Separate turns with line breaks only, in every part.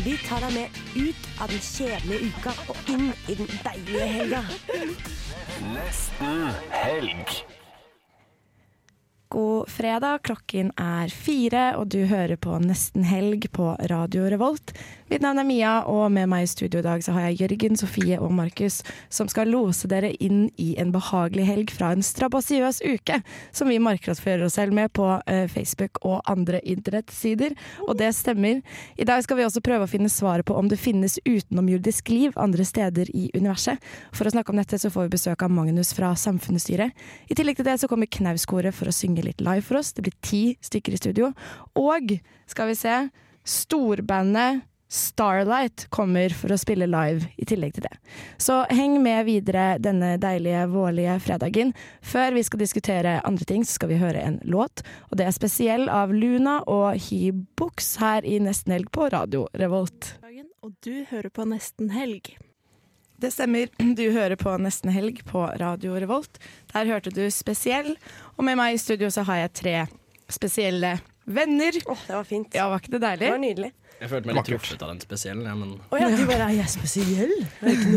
Vi tar deg med ut av den kjedelige uka og inn i den deilige helga.
God fredag, klokken er fire, og du hører på Nesten helg på Radio Revolt. Mitt navn er Mia, og med meg i studio i dag så har jeg Jørgen, Sofie og Markus, som skal lose dere inn i en behagelig helg fra en strabasiøs uke, som vi markedsfører oss selv med på eh, Facebook og andre internettsider, og det stemmer. I dag skal vi også prøve å finne svaret på om det finnes utenomjordisk liv andre steder i universet. For å snakke om dette så får vi besøk av Magnus fra Samfunnsstyret. I tillegg til det så kommer Knauskoret for å synge litt live for oss. Det blir ti stykker i studio. Og skal vi se, storbandet Starlight kommer for å spille live i tillegg til det. Så heng med videre denne deilige vårlige fredagen. Før vi skal diskutere andre ting, så skal vi høre en låt. Og det er spesiell av Luna og He Books her i Nesten Helg på Radio Revolt.
Og du hører på Nesten helg.
Det stemmer. Du hører på Nesten Helg på Radio Revolt. Der hørte du Spesiell. Og med meg i studio så har jeg tre spesielle venner.
Åh, det var fint.
Ja, var ikke det deilig?
Det var nydelig.
Jeg følte meg litt truffet av den spesielle, ja, men
Å ja, du bare er jeg spesiell?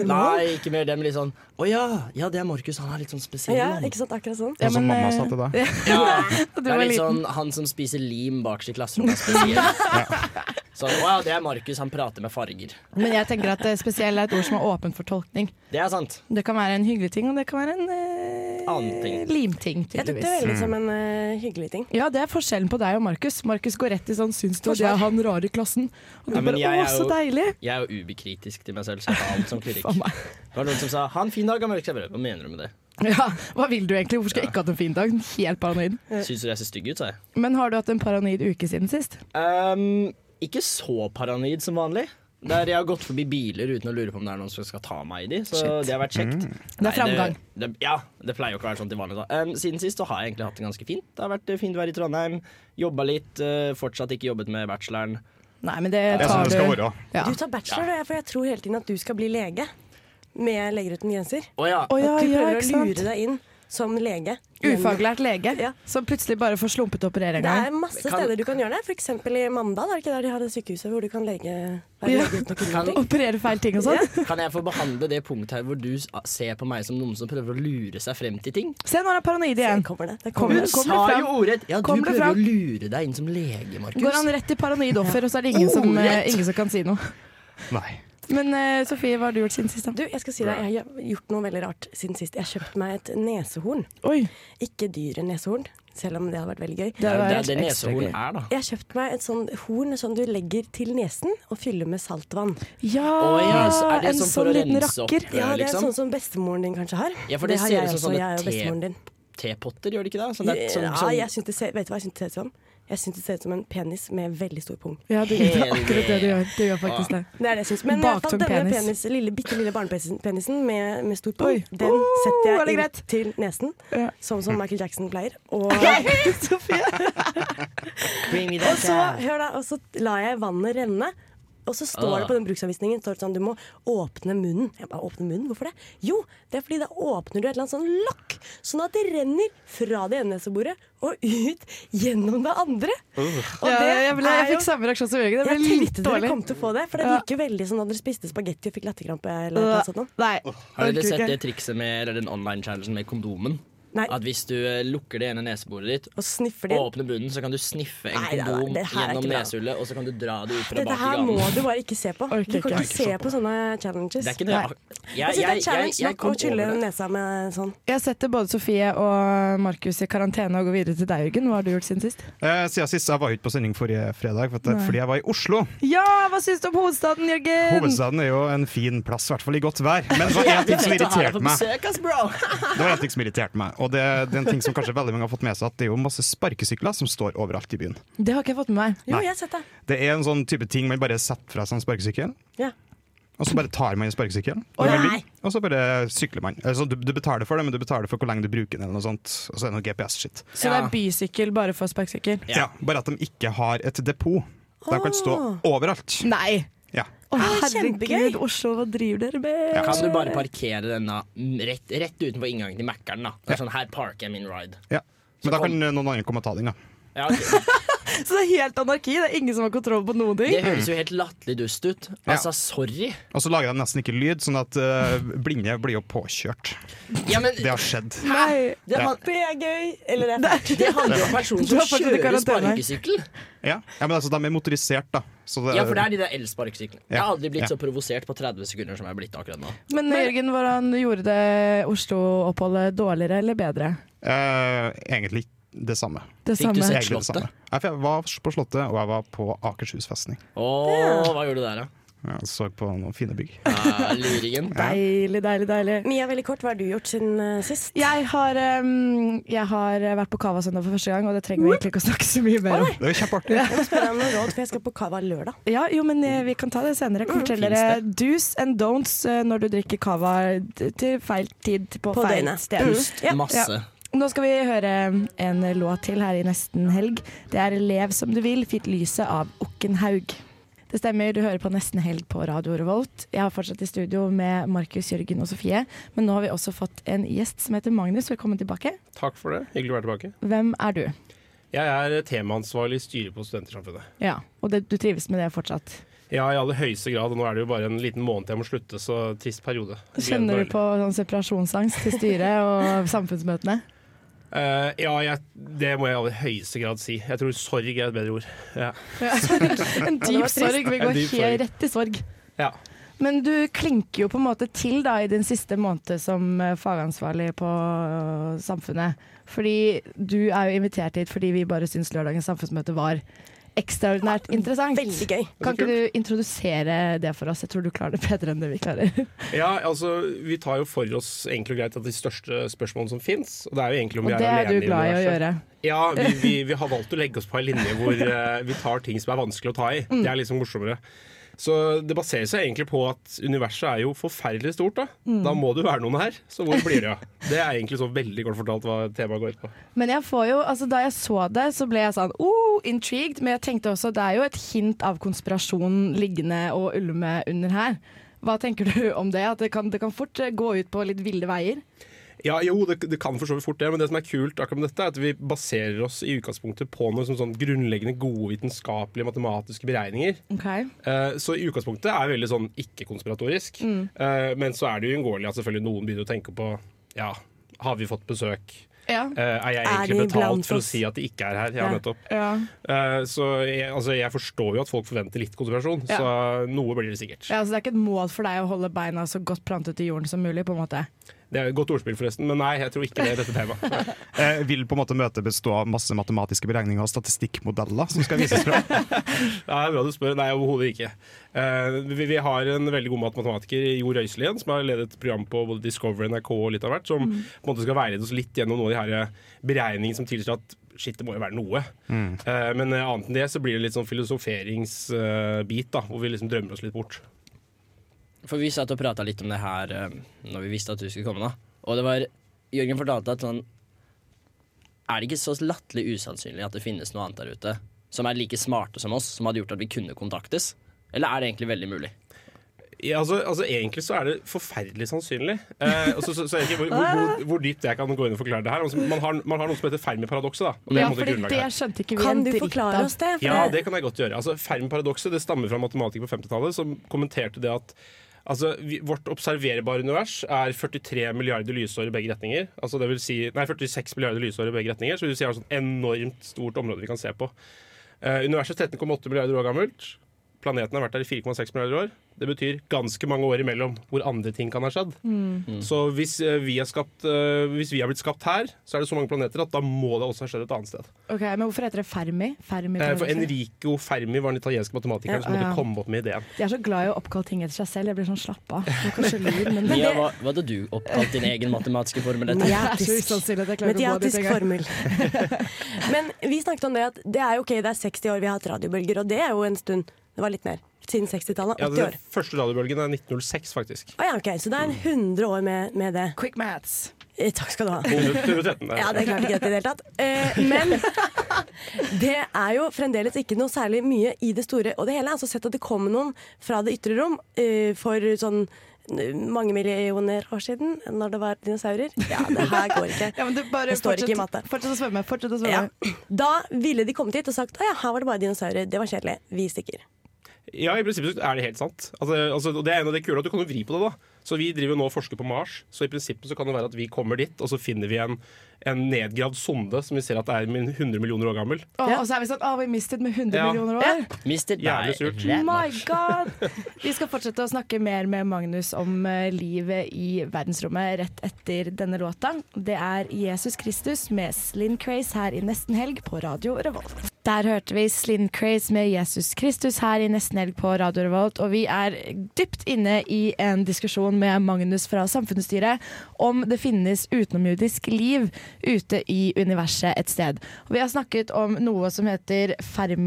Nei, ikke mer det, men litt sånn Å ja, ja, det er Markus. Han er litt sånn spesiell.
Ja,
han.
ikke sant? Akkurat sånn.
Ja, men, eh,
til Altså, deg.
Ja,
Du
det
var
er litt
liten.
sånn han som spiser lim bakerst i klasserommet. er Spesiell. Sånn, å ja, det er Markus. Han prater med farger.
Men jeg tenker at eh, spesiell er et ord som er åpent for tolkning.
Det er sant.
Det kan være en hyggelig ting, og det kan være en eh,
Annen ting.
limting,
Jeg tok det
tydeligvis.
veldig
Mm.
som en eh, hyggelig ting.
Ja, det er forskjellen på deg og Markus. Markus går rett i sånn 'syns du at jeg er han rare i klassen'? Og du
Ja, men
bare
jeg
'å,
er
så
jo-
deilig'.
Jeg er jo ubekritisk til meg selv, så jeg tar alt som kritikk.
Faen meg.
Det var noen som sa 'han fin dag', han mørker seg brød. Hva mener du med det?
Ja, hva vil du egentlig? Hvorfor skal jeg ikke ha hatt en fin dag? Helt paranoid.
Syns du jeg ser stygg ut, sa jeg.
Men har du hatt en paranoid uke siden sist?
Ehm, ikke så paranoid som vanlig. Der Jeg har gått forbi biler uten å lure på om det er noen som skal ta meg i de. Så
Shit.
det har vært kjekt.
Mm.
Det er framgang.
Det, det, ja, det pleier jo ikke å være sånn til vanlig. da Ehm, Siden sist så har jeg egentlig hatt det ganske fint. Det har vært eh, fint vær i Trondheim. Jobba litt. eh, fortsatt ikke jobbet med bacheloren.
Nei, men det
Det er sånn
Eh, tar
det skal
du.
være.
Ja.
Du tar bachelor, og jeg- for jeg tror hele tiden at du skal bli lege. Med Leger uten grenser.
Å ja.
Å ja,
du
ja,
prøver
ikke
å lure
sant.
deg inn som lege.
Ufaglært lege
Ja.
som plutselig bare får slumpet å operere en
Det er
gang.
masse
Kan-
steder du kan gjøre det. F.eks. i Mandal, er det ikke der de har det sykehuset hvor du kan lege, være
Ja.
lege uten å kunne ting?
Operere feil ting og sånn.
Kan jeg få behandle det punktet her hvor du s- ser på meg som noen som prøver å lure seg frem til ting?
Se, nå er han paranoid
Der
igjen.
kommer det. Der
Kom
kommer
Hun
det-
det.
kom det
sa
fram.
jo ordrett! Ja,
Kom
du
det
prøver
fram.
å lure deg inn som lege,
Går han
Markus.
rett til paranoid offer, og så er det ingen som, eh,
Ordrett.
ingen som kan si noe.
Nei.
Men eh, Sofie, hva har du gjort siden sist? da?
Du, jeg skal si deg, jeg har gjort noe veldig rart siden sist. Jeg kjøpte meg et nesehorn.
Oi,
Ikke dyre nesehorn, selv om det hadde vært veldig gøy.
det
Det
har
er
vært
det
ekstra
nesehorn
gøy.
er, da.
Jeg kjøpte meg et sånn horn som du legger til nesen og fyller med saltvann.
Ja,
Å ja, så er det
en
sånn for
sånn
å
liten
rense opp.
rakker.
Ja, Det er
liksom.
sånn som bestemoren din kanskje har.
Ja, for det
har
ser
jeg
ut som
også,
sånne
jeg er jo
te-
bestemoren din.
Tepotter, gjør det ikke det? Sånn, det er sånn,
ja,
sånn,
jeg synes det ser, vet du hva jeg syns det ser ut som? Jeg synes det ser ut som en penis med veldig stor pung.
Ja, det det er akkurat det du gjør. Du gjør
Ah.
faktisk det.
Det er det jeg synes. Men i hvert fall
Baktung
denne
penis.
penis, lille, bitte lille barnepenisen med, med stor pung,
Oi.
den
Oh,
setter
er det
jeg inn
greit?
til nesen,
Ja.
sånn som Michael Jackson pleier. Og,
Sofie.
Bring me
og,
that
så,
cat.
hør da, og så lar jeg vannet renne. Og så står
Ah.
det på den bruksanvisningen står det sånn, du må åpne munnen. Jeg bare, åpne munnen, Hvorfor det? Jo, det er fordi da åpner du et eller annet sånn lokk, sånn at det renner fra det ene neseboret og ut gjennom det andre. Og
Ja,
det
jeg, ble, jeg
er jo-
fikk samme reaksjon som Jørgen. Det
Jeg
ble litt
tenkte dere
dårlig.
kom til å få det, for det
Ja.
virker veldig som da dere spiste spagetti og fikk latterkrampe. Eller noe sånt. nå.
Nei.
Har dere
orker
sett
ikke.
det trikset med eller den online-challengen med kondomen?
Nei.
At hvis du eh, lukker det ene neseboret ditt
Og sniffer
og
de.
åpner munnen, så kan du sniffe en
Nei, nei, nei,
kondom
det her er
gjennom
ikke bra.
nesehullet, og så kan du dra det ut fra
Dette
bak i
her må
ganen.
du bare ikke se på.
Orker
Du kan
ikke.
ikke se på sånne challenges.
Det er ikke det.
Nei.
Jeg
Jeg,
synes det er
jeg, jeg,
challenge
jeg
nok
kom
å
over
kylle
det.
nesa med sånn.
Jeg setter både Sofie og Markus i karantene og går videre til deg, Jørgen. Hva har du gjort siden sist?
Eh, Siden sist jeg var jo ikke på sending forrige fredag, for at- fordi jeg var i Oslo.
Ja, hva syns du om hovedstaden, Jørgen?
Hovedstaden er jo en fin plass, i hvert fall i godt vær. Men det var én ting som
Fett å ha deg
irriterte
på
meg.
besøk, ass, bro!
Det var en ting som irriterte meg Og det, det er en ting som kanskje veldig mange har fått med seg, at det er jo masse sparkesykler som står overalt i byen.
Det har ikke jeg fått med meg.
Jo,
Nei.
jeg har sett det.
Det er en sånn type ting man bare setter fra seg en sparkesykkel,
Ja.
Og så bare tar man sparkesykkelen,
Å,
når man
nei.
vil, og så bare sykler man. Altså, du, du betaler for det, men du betaler for hvor lenge du bruker den, eller noe sånt. Og så er det noe GPS-skitt.
Så det er bysykkel bare for sparkesykkel?
Ja. bare at de ikke har et depot. De kan stå overalt.
Ah. Nei!
Ja.
Å,
kjempegøy.
herregud, Oslo, hva driver dere med?
Kan du bare parkere denne mm, rett, rett utenfor inngangen til Mækkern? da? Det er sånn, her parker jeg min ride.
ja. Men da kan noen andre komme og ta den, da.
Ja, ok.
Så det er helt anarki? Det er ingen som har kontroll på noen ting?
Det høres jo helt latterlig dust ut. Altså, sorry.
Og så lager de nesten ikke lyd, sånn at eh, blinde blir jo påkjørt.
Ja, men
Det har skjedd.
Nei.
det, han-
Det er gøy. Eller det er fælt.
det handler jo om personen
Du
som
har fortsatt i
kjører
karantene.
sparkesykkel.
Ja. ja, men altså, de er motorisert, da. Så det,
Ja, for det er de der elsparkesyklene. Jeg har aldri blitt
Ja.
så provosert på 30 sekunder som jeg har blitt akkurat nå.
Men Jørgen, hvordan gjorde det Oslo-oppholdet dårligere eller bedre?
eh, egentlig det samme.
Det
Fikk du
samme.
se-
Egentlig det samme.
Slottet?
Ja, for jeg var på Slottet, og jeg var på Akershus festning.
Åh, hva gjorde du der, da?
Jeg så på noen fine bygg.
Ja, luringen.
Deilig, deilig, deilig.
Mia, veldig kort, hva har du gjort siden eh, sist?
Jeg har, um, jeg har vært på Cava søndag for første gang, og det trenger vi egentlig ikke å snakke så mye mer om.
Det var kjempeartig.
Jeg må spørre deg om noe råd, for jeg skal på Cava lørdag.
Ja, jo, men eh, Vi kan ta det
Mm,
senere. Jeg kan fortelle
Finns
dere do's and don'ts eh, når du drikker Cava d- til feil tid på,
På
feil
døgnet. Mm.
sted.
Pust
Ja.
masse.
Nå skal vi høre en låt til her i nesten helg. Det er 'Lev som du vil', Fitt lyset av Okkenhaug. Det stemmer, du hører på Nesten helg på Radio Revolt. Jeg har fortsatt i studio med Markus, Jørgen og Sofie, men nå har vi også fått en gjest som heter Magnus. Velkommen tilbake.
Takk for det. Hyggelig å være tilbake.
Hvem er du?
Jeg er temaansvarlig i styret på Studentersamfunnet.
Ja, Og det, du trives med det fortsatt?
Ja, i aller høyeste grad. og Nå er det jo bare en liten måned til jeg må slutte, så trist periode.
Kjenner du på sånn separasjonsangst til styret og samfunnsmøtene?
Eh, ja, jeg, det må jeg i aller høyeste grad si. Jeg tror sorg er et bedre ord. Ja.
En dyp sorg. Vi
En
går
dyp sorg.
helt rett i sorg.
ja.
Men du klinker jo på en måte til da i din siste måned som eh, fagansvarlig på eh, Samfunnet. Fordi du er jo invitert hit fordi vi bare syns lørdagens samfunnsmøte var ekstraordinært interessant.
Veldig gøy.
Kan ikke du introdusere det for oss? Jeg tror du klarer det bedre enn det vi klarer.
ja, altså Vi tar jo for oss enkelt og greit at de største spørsmålene som fins. Og det er jo egentlig om
Og
vi
det er
alene
du glad i å
universet.
gjøre.
Ja, vi, vi, vi har valgt å legge oss på en linje hvor eh, vi tar ting som er vanskelig å ta i.
Mm.
Det er liksom morsommere. Så det baserer seg egentlig på at universet er jo forferdelig stort. Da
Mm.
Da må det jo være noen her, så hvor blir det av? Det er egentlig så veldig kort fortalt hva temaet går ut på.
Men jeg får jo, altså da jeg så det, så ble jeg sånn oh, intrigued. Men jeg tenkte også det er jo et hint av konspirasjon liggende og ulme under her. Hva tenker du om det? At det kan, det kan fort eh, gå ut på litt ville veier.
Ja, jo, det, det kan for så vidt fort det, men det som er kult akkurat med dette, er at vi baserer oss i utgangspunktet på noen sånn, sånn grunnleggende gode vitenskapelige matematiske beregninger.
Okay.
Eh, Så i utgangspunktet er det veldig sånn ikke-konspiratorisk. Eh, Men så er det jo uunngåelig at selvfølgelig noen begynner å tenke på Ja, har vi fått besøk?
Ja.
Eh, Er jeg
Er
egentlig
de blant
betalt for å
oss?
si at de ikke er her? Ja,
Ja.
nettopp.
Ja.
Eh, Så jeg, altså, jeg forstår jo at folk forventer litt konspirasjon,
Ja.
så noe blir det sikkert.
Ja, altså det er ikke et mål for deg å holde beina så godt plantet i jorden som mulig, på en måte.
Det er et godt ordspill, forresten, men nei, jeg tror ikke det er dette temaet.
Eh, vil på en måte møtet bestå av masse matematiske beregninger og statistikkmodeller som skal vises fram?
Det er bra du spør. Nei, overhodet ikke. Eh, Vi, vi har en veldig god matematiker, Jo Røiselien, som har ledet et program på både Discovery, NRK og litt av hvert, som på en måte skal veilede oss litt gjennom noen av de her beregningene som tilsier at shit, det må jo være noe. Eh, Men eh, annet enn det så blir det litt sånn filosoferingsbit, da, hvor vi liksom drømmer oss litt bort.
For vi satt og prata litt om det her eh, når vi visste at du skulle komme. da Og det var Jørgen fortalte at sånn Er det ikke så latterlig usannsynlig at det finnes noe annet der ute som er like smarte som oss, som hadde gjort at vi kunne kontaktes? Eller er det egentlig veldig mulig?
Ja, altså, altså Egentlig så er det forferdelig sannsynlig. Eh, og så, så, så er det ikke hvor, hvor, hvor, hvor dypt jeg kan gå inn og forklare det her. Altså, man, har, man har noe som heter Fermi-paradokset. da, og det er på
Ja,
en måte
fordi
grunnlaget
det
her.
skjønte ikke vi
Kan
en
du
dritt
forklare
av.
oss det? For
Ja, det kan jeg godt gjøre. Altså, Fermi-paradokset det stammer fra en matematiker på 50-tallet som kommenterte det at altså, vi, vårt observerbare univers er 43 milliarder lysår i begge retninger. Altså, det vil si, nei, 46 milliarder lysår i begge retninger, så det vil si altså et enormt stort område vi kan se på. Eh, universet er 13,8 milliarder år gammelt. Planeten har vært der i 4,6 milliarder år. Det betyr ganske mange år imellom hvor andre ting kan ha skjedd.
Mm.
Så hvis, eh, vi er skapt, eh, hvis vi har blitt skapt her, så er det så mange planeter at da må det også ha skjedd et annet sted.
Ok, Men hvorfor heter det Fermi? Fermi
Eh, For Enrico Fermi var den italienske matematikeren som måtte
ja.
komme opp med ideen.
Jeg er så glad i å oppkalle ting etter seg selv. Jeg blir sånn slapp av. Jeg er Kanskje lur, men det
Mia, hva, hva hadde du oppkalt din egen matematiske formel etter?
er så
Mediatisk.
usannsynlig at jeg klarer ikke å gå dit
Mediatisk
engang.
formel. Men vi snakket om det at det er jo ok, det er 60 år vi har hatt radiobølger, og det er jo en stund. Det var litt mer. Siden 60-tallet.
Ja,
80
den
år.
første radiobølgen er 1906, faktisk.
Å ja, ok, Så det er en 100 år med, med det.
Quick maths.
Eh, Takk skal du ha.
113 der.
Ja, det klarte ikke dette i det hele tatt. Eh, men det er jo fremdeles ikke noe særlig mye i det store og det hele. Altså sett at det kom noen fra det ytre rom eh, for sånn eh, mange millioner år siden, når det var dinosaurer. Ja, det her går ikke.
Ja, men du bare
Det står ikke i matte.
Fortsett å svømme. fortsett å svømme.
Ja. Da ville de kommet hit og sagt at ja, her var det bare dinosaurer, det var kjedelig, vi stikker.
Ja, i prinsippet så er det helt sant. Altså, altså, og det er en av de kule at du kan jo vri på det, da. Så vi driver jo nå og forsker på Mars, så i prinsippet så kan det være at vi kommer dit, og så finner vi en, en nedgravd sonde som vi ser at er min 100 millioner år gammel.
Å, Og så er vi sånn Å, vi mistet med 100
Ja.
millioner år.
Mister
Jævlig surt.
Ræva.
My God! Vi skal fortsette å snakke mer med Magnus om eh, livet i verdensrommet rett etter denne låta. Det er Jesus Kristus med Slin Craze her i Nesten Helg på Radio Revolt. Der hørte vi Slin Craze med Jesus Kristus her i Nesten Helg på Radio Revolt. Og vi er dypt inne i en diskusjon med Magnus fra Samfunnsstyret om det finnes utenomjordisk liv ute i universet et sted. Og vi har snakket om noe som heter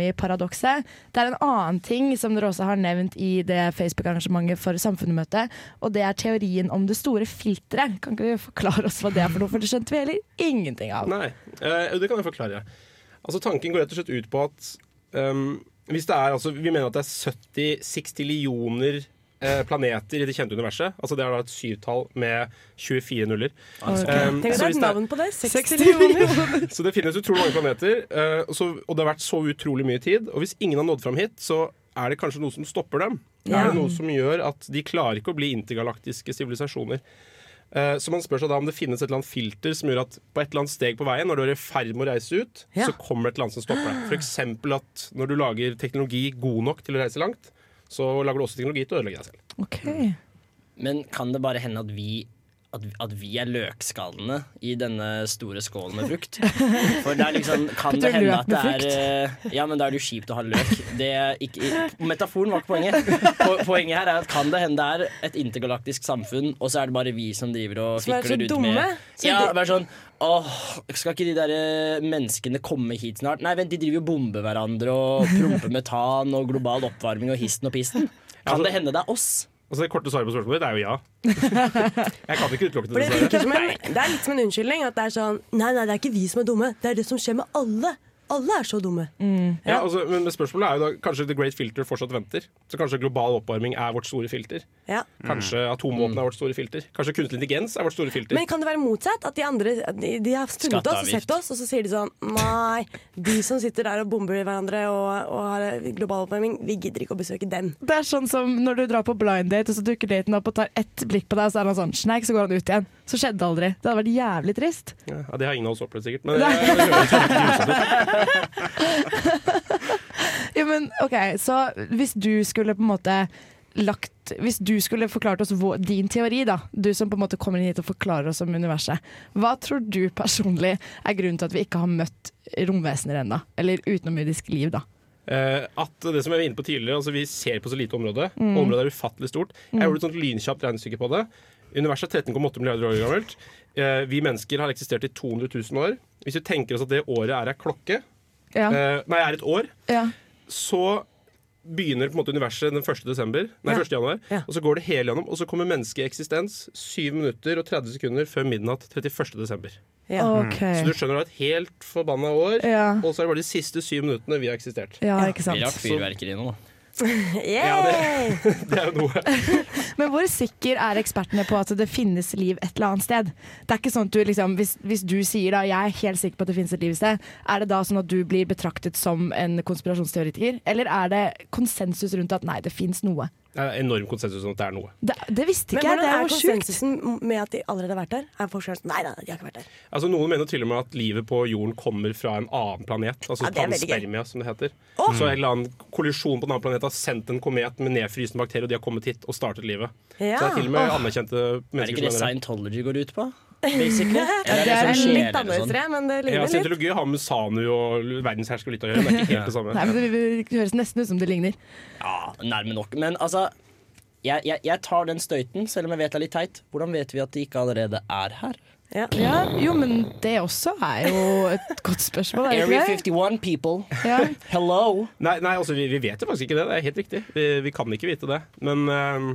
Fermi-paradokset. Det er en annen ting som dere også har nevnt i det Facebook-arrangementet for Samfunnsmøtet, og det er teorien om det store filteret. Kan ikke du forklare oss hva det er for noe, for det skjønte vi heller ingenting av.
Nei, eh, det kan jeg forklare. Altså Tanken går rett og slett ut på at ehm, hvis det er, altså, Vi mener at det er 70-60 millioner eh, planeter i det kjente universet. Altså Det er da et syvtall med 24 nuller. Ehm,
Tenk at
så hvis det
det er et
er-
navn på det. 60
millioner!
Så det finnes utrolig mange planeter, eh, og så, og det har vært så utrolig mye tid. Og hvis ingen har nådd fram hit, så er det kanskje noe som stopper dem. Er det noe som gjør at de klarer ikke å bli intergalaktiske sivilisasjoner? Eh, Så man spør seg da om det finnes et eller annet filter som gjør at på et eller annet steg på veien, når du er i ferd med å reise ut,
Ja.
så kommer det et eller annet som stopper deg. For eksempel at når du lager teknologi god nok til å reise langt, så lager du også teknologi til å ødelegge deg selv.
Ok.
Men kan det bare hende at vi at, at vi er løkskallene i denne store skålen med frukt? For det er liksom Kan
Putter
det hende
løk
at det
med
er eh, Ja, men da er det jo kjipt å ha løk. Det er ikke, i- metaforen var ikke poenget. Po- Poenget her er at kan det hende det er et intergalaktisk samfunn, og så er det bare vi som driver og
Som er så
fikler ut
dumme,
med
som
Ja,
de-
bare sånn Åh, skal ikke de der eh, menneskene komme hit snart? Nei, vent, de driver jo og bomber hverandre og promper metan og global oppvarming og histen og pisten. Kan det hende det er oss?
Altså Det korte svaret på spørsmålet ditt er jo ja. Jeg kan ikke utelukke
For
det,
det, virker som en, det er litt som en unnskyldning. At det er sånn Nei, nei, det er ikke vi som er dumme. Det er det som skjer med alle. Alle er så dumme.
Mm.
Ja, altså, men spørsmålet er jo da Kanskje The Great Filter fortsatt venter? Så kanskje global oppvarming er vårt store filter?
Ja.
Mm. Kanskje atomvåpen er vårt store filter? Kanskje kunstig intelligens er vårt store filter?
Men kan det være motsatt? At de andre de, de har funnet oss og
Skatteavgift.
sett oss, og så sier de sånn Nei, de som sitter der og bomber hverandre og, og har global oppvarming, vi gidder ikke å besøke dem.
Det er sånn som når du drar på blind date, og så dukker daten opp og tar ett blikk på deg, og så er han sånn sneik, så går han ut igjen. Så skjedde det aldri. Det hadde vært jævlig trist.
Ja, det har ingen av oss opplevd, sikkert. Men eh, det høres jo litt grusomt ut.
Ja, men ok, så hvis du skulle på en måte lagt Hvis du skulle forklart oss vår, din teori, da, du som på en måte kommer inn hit og forklarer oss om universet, hva tror du personlig er grunnen til at vi ikke har møtt romvesener ennå? Eller utenomjordisk liv, da?
Eh, at det som jeg var inne på tidligere, altså vi ser på så lite område.
Mm.
Området er ufattelig stort. Jeg gjorde et sånt lynkjapt regnestykke på det. Universet er 13,8 milliarder år gammelt. Eh, vi mennesker har eksistert i 200 000 år. Hvis vi tenker oss at det året er ei klokke,
Ja.
eh, nei, er et år,
ja.
så begynner på en måte universet den 1. Desember, nei,
Ja.
1. januar,
Ja.
og så går det hele gjennom, og så kommer mennesket i eksistens 7 minutter og 30 sekunder før midnatt 31. desember.
Ja.
Mm.
OK.
Så du skjønner det er et helt forbanna år,
Ja.
og så er det bare de siste syv minuttene vi har eksistert.
ja, ikke
Vi rakk
sant.
fyrverkeri nå, da.
Det
Yay!
er jo noe.
Men hvor sikker er ekspertene på at det finnes liv et eller annet sted? Det er ikke sånn at du liksom, hvis, hvis du sier da 'jeg er helt sikker på at det finnes et liv et sted', er det da sånn at du blir betraktet som en konspirasjonsteoretiker? Eller er det konsensus rundt at 'nei, det fins noe'?
Det er enorm konsensus om at det er noe.
Det, det visste
Men
ikke jeg,
hvordan
det er
er
jo sjukt.
konsensusen med at de allerede har vært der? Er forskjellen sånn, Nei, nei, de har ikke vært der.
Altså Noen mener til og med at livet på jorden kommer fra en annen planet. Altså
Ja, det er veldig gøy.
panspermia, som det heter. Så en eller annen kollisjon på en annen planet har sendt en komet med nedfrysende bakterier, og de har kommet hit og startet livet.
Ja.
Så det er til og med anerkjente
Er det
mennesker
ikke
som mener det.
det scientology går ut på? Basically? Eller
det er
sånn
en
sjeler
Litt
og sånn?
annerledes, tror jeg, men det
Ja,
ligner litt.
Scientologi har med Sanu og verdenshersker litt å gjøre, men det er ikke helt det samme.
Nei, men det, det høres nesten ut som det ligner.
Ja, nærme nok. Men altså, jeg, jeg, jeg tar den støyten, selv om jeg vet det er litt teit. Hvordan vet vi at de ikke allerede er her?
Ja.
Ja, jo, men det også er jo et godt spørsmål, er
Area
det ikke det?
51, people.
Ja.
Hello!
Nei, nei altså, vi, vi vet jo faktisk ikke det. Det er helt riktig. Vi, vi kan ikke vite det. Men eh,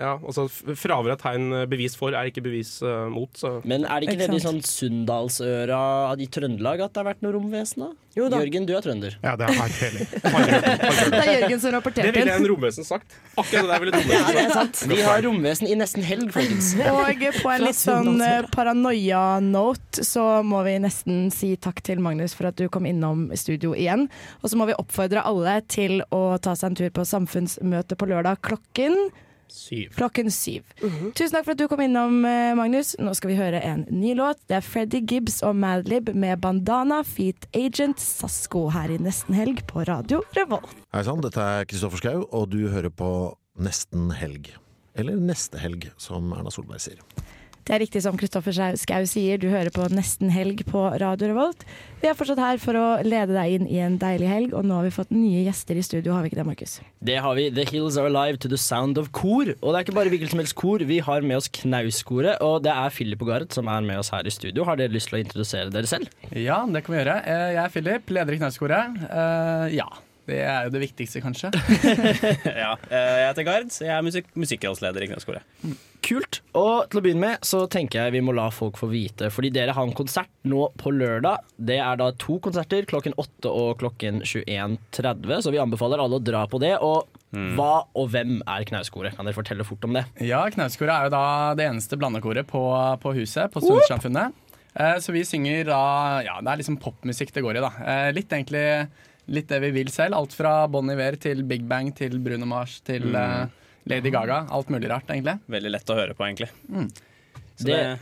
ja, altså, f- fravær av tegn eh, bevis for er ikke bevis eh, mot, så
Men er det ikke,
Ikke
nede i sånn
sant.
Sunndalsøra i Trøndelag at det har vært noe romvesen? da?
Jo da.
Jørgen, du er trønder.
Ja, det har jeg ikke peiling.
Det er Jørgen som
Det
rapporterte
ville
inn.
en romvesen sagt. Akkurat det der ville romvesen sagt.
Vi har romvesen i nesten helg, folkens.
Og på en litt sånn eh,
Sunndalsøra.
paranoia-note så må vi nesten si takk til Magnus for at du kom innom studio igjen. Og så må vi oppfordre alle til å ta seg en tur på samfunnsmøte på lørdag klokken
Syv.
klokken syv. Tusen takk for at du kom innom, eh, Magnus. Nå skal vi høre en ny låt. Det er Freddy Gibbs og Madlib med 'Bandana Feet Agent Sasko' her i Nesten Helg på Radio Revolt.
Hei sann, dette er Kristoffer Schau, og du hører på Nesten helg. Eller Neste helg, som Erna Solberg sier.
Det er riktig som Kristoffer Schau sier, du hører på Nesten Helg på Radio Revolt. Vi er fortsatt her for å lede deg inn i en deilig helg, og nå har vi fått nye gjester i studio, har vi ikke det, Markus?
Det har vi. The Hills Are Alive to the Sound of Kor. Og det er ikke bare hvilket som helst kor. Vi har med oss Knauskoret, og det er Philip og Gareth som er med oss her i studio. Har dere lyst til å introdusere dere selv?
Ja, det kan vi gjøre. Eh, Jeg er Philip, leder i Knauskoret. Eh, Ja. Det er jo det viktigste, kanskje.
Ja, eh, jeg heter Gard, så jeg er musikk musikkrådsleder i Knøskole.
Kult. Og til å begynne med så tenker jeg vi må la folk få vite, fordi dere har en konsert nå på lørdag. Det er da to konserter, klokken 8 og klokken 21.30, så vi anbefaler alle å dra på det. Og
Mm.
hva og hvem er Knauskoret? Kan dere fortelle fort om det?
Ja, Knauskoret er jo da det eneste blandekoret på, på huset, på Studentsamfunnet. Eh, Så vi synger da Ja, det er liksom popmusikk det går i, da. Eh, Litt egentlig litt det vi vil selv. Alt fra Bon Iver til Big Bang til Bruno Mars til eh, Lady Gaga. Alt mulig rart, egentlig. Mm.
Veldig lett å høre på, egentlig. Så det,
Det-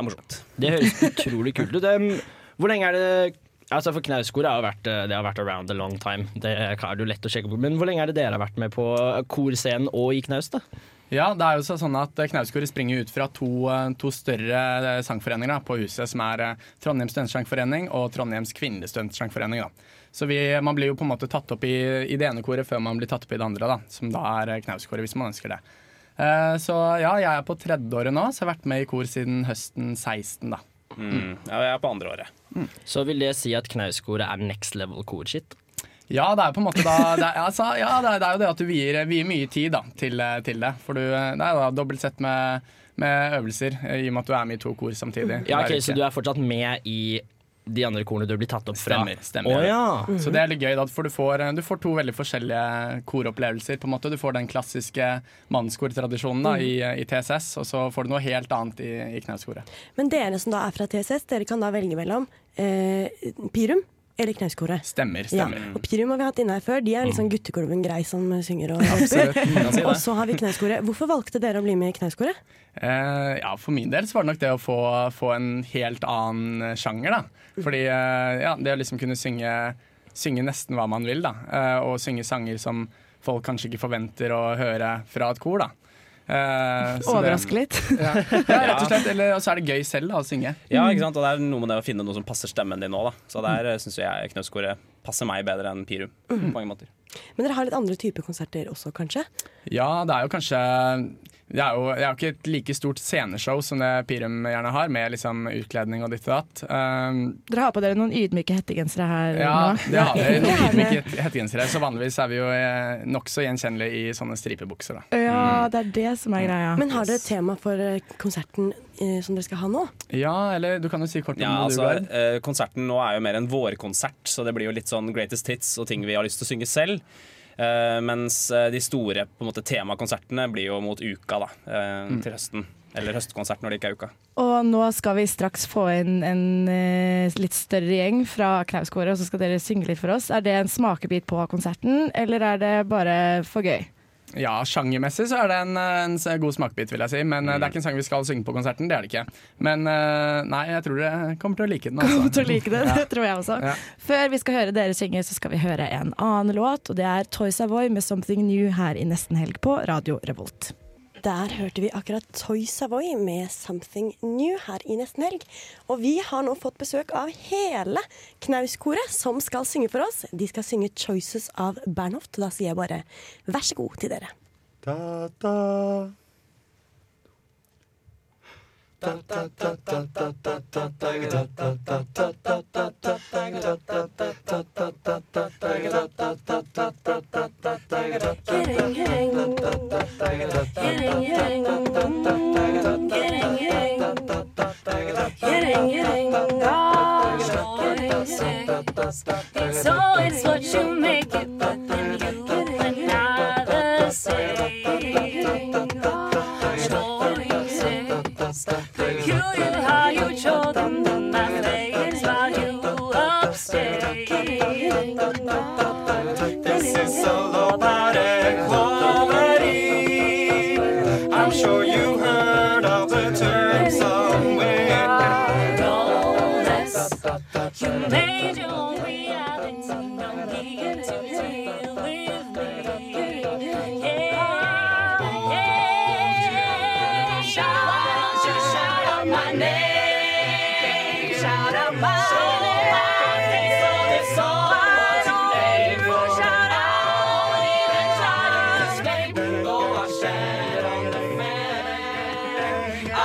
er morsomt.
Det høres utrolig kult ut. Um, hvor lenge er det Altså For Knauskoret har jo vært, eh, det har vært around a long time. Det er jo lett å sjekke på Men hvor lenge er det dere har vært med på eh, korscenen og i Knaus? da?
Ja, det er jo så- sånn at eh, Knauskoret springer ut fra to, eh, to større eh, sangforeninger da, på huset, som er eh, Trondheim Studentsangforening og Trondheims Kvinnelige Studentsangforening. da. Så vi, eh, man blir jo på en måte tatt opp i, i det ene koret før man blir tatt opp i det andre, da, som da er eh, Knauskoret, hvis man ønsker det. Eh, Så ja, jeg er på tredjeåret nå, så jeg har vært med i kor siden høsten 16, da.
Mm. Ja, jeg er på andre året.
Mm. Så vil det si at Knauskoret er next level korshit?
Ja, det er jo på en måte da det er, altså, ja, det er, det er jo det at du vier, vier mye tid da, til, til det. For du, det er da dobbelt sett med, med øvelser, eh, i og med at du er med i to kor samtidig.
Ja, ok,
hver uke.
Så du er fortsatt med i de andre korene du blir tatt opp fra?
Stemmer, stemmer. Mm-hmm.
Å, ja.
Mhm.
Så det er litt gøy, da, for du får, eh, du får to veldig forskjellige koropplevelser. på en måte. Du får den klassiske mannskortradisjonen
Mm.
da, i, i TSS, og så får du noe helt annet i, i knauskoret.
Men dere som da er fra TSS, dere kan da velge mellom eh, Pirum eller Knauskoret.
Stemmer,
Ja.
stemmer. Mm.
Og Pirum har vi hatt inne her før. De er litt sånn gutteklubben grei som synger og
Absolutt, man kan si det.
Og så har vi Knauskoret. Hvorfor valgte dere å bli med i Knauskoret?
Eh, ja, for min del så var det nok det å få, få en helt annen sjanger, da. Fordi eh, ja, det å liksom kunne synge, synge nesten hva man vil, da. Eh, og synge sanger som folk kanskje ikke forventer å høre fra et kor, da. Eh, så det-
Overraske litt.
Ja. ja, rett og slett. Eller, og så er det gøy selv da, å synge.
Ja, ikke sant? Og det er noe med det å finne noe som passer stemmen din nå, da. Så der syns jeg Knøskoret passer meg bedre enn Pirum på
Mhm.
mange måter.
Men dere har litt andre typer konserter også, kanskje?
Ja, det er jo kanskje Det er jo, det er jo ikke et like stort sceneshow som det Pirum gjerne har, med liksom utkledning og ditt og datt. Eh,
Dere har på dere noen ydmyke hettegensere her
Ja,
Eh, nå.
det har vi. Nå
Det har
fikk vi
vi.
ikke hettegensere, så vanligvis er vi jo eh, nokså gjenkjennelige i sånne stripebukser, da.
Ja, det er det som
Mm.
er greia.
Men har dere et tema for eh, konserten eh, som dere skal ha nå?
Ja, eller du kan jo si kort om
Ja,
det
altså,
du, Gard.
eh, konserten nå er jo mer en vårkonsert, så det blir jo litt sånn greatest hits og ting vi har lyst til å synge selv. Eh, mens eh, de store på en måte, temakonsertene blir jo mot uka, da. eh,
Mm.
Til høsten. Eller høstkonsert når det ikke er uka.
Og nå skal vi straks få inn en eh, litt større gjeng fra Knauskoret, og så skal dere synge litt for oss. Er det en smakebit på konserten, eller er det bare for gøy?
Ja, sjangermessig så er det en, eh, en s- god smakebit, vil jeg si. Men
Mm.
eh, det er ikke en sang vi skal synge på konserten, det er det ikke. Men eh, nei, jeg tror dere kommer til å like den,
Kommer
altså.
til å like det, det tror jeg også.
Ja.
Før vi skal høre dere synge, så skal vi høre en annen låt, og det er Toy Savoy med 'Something New' her i Nesten Helg på Radio Revolt.
Der hørte vi akkurat Toy Savoy med 'Something New' her i nesten helg. Og vi har nå fått besøk av hele Knauskoret som skal synge for oss. De skal synge 'Choices' av Bernhoft, og da sier jeg bare vær så god til dere.
Ta-ta.
So it's what you make it, but then you and I the same. Stories say, you, you, how you choke in my face while you upstay. This is all about equality. I'm sure you heard of the term somewhere. No less. You made your own reality. Don't begin to deal with me. Yeah, yeah. Shout out, shout out my name. Shout out my name. So it's all I want to name. Shout out, even shout out escape. Though I shed on the fan, I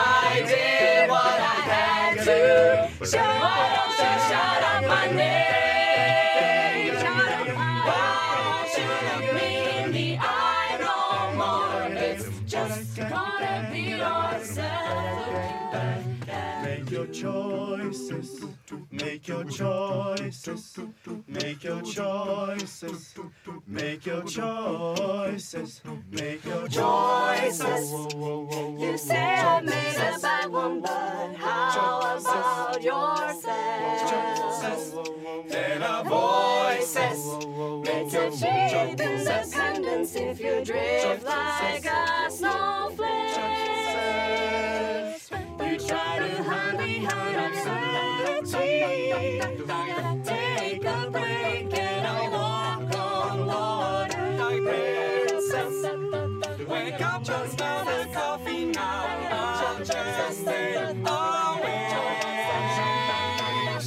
did what I had to. Shout out, shout out my name. Shout out my Why don't you look me in the eye no more? It's just gonna be yourself.
Make your choices. Make your choices. Make your choices. Make your choices. Make your
choices. You say I made a bad one, but how about yourself? There are voices. It's a shade in the kindness if you drift like a snowflake. You try to hide behind absurdity. Take a break and I'll walk on water. Princess, wake up and smell the coffee now. I'm just staying away.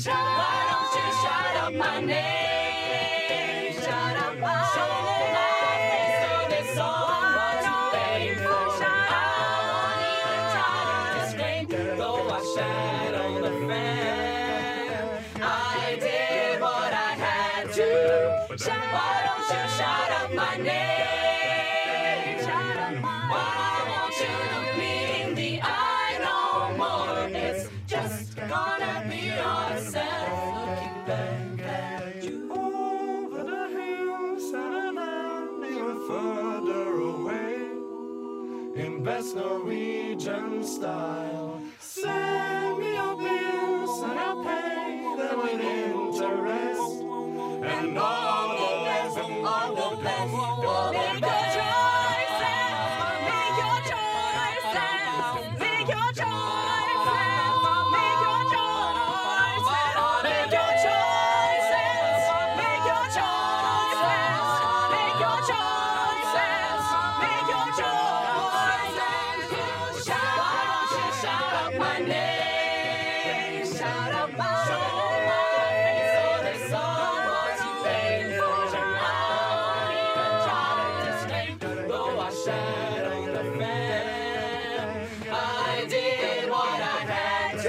Why don't you shout out my name? Shout out my name. So this all I want to aim for. Shout out even tired is great. Though I shed on the fan, I did what I had to. Shout- Why don't you shout out my name? Shout out my Why won't you look me in the eye no more? It's just gonna be yourself. Looking back at you over the hills and around even
further away in best Norwegian style. Send me your bills and I'll pay them with interest. And all the rest, all the best, all the best.
I did what I had to. Why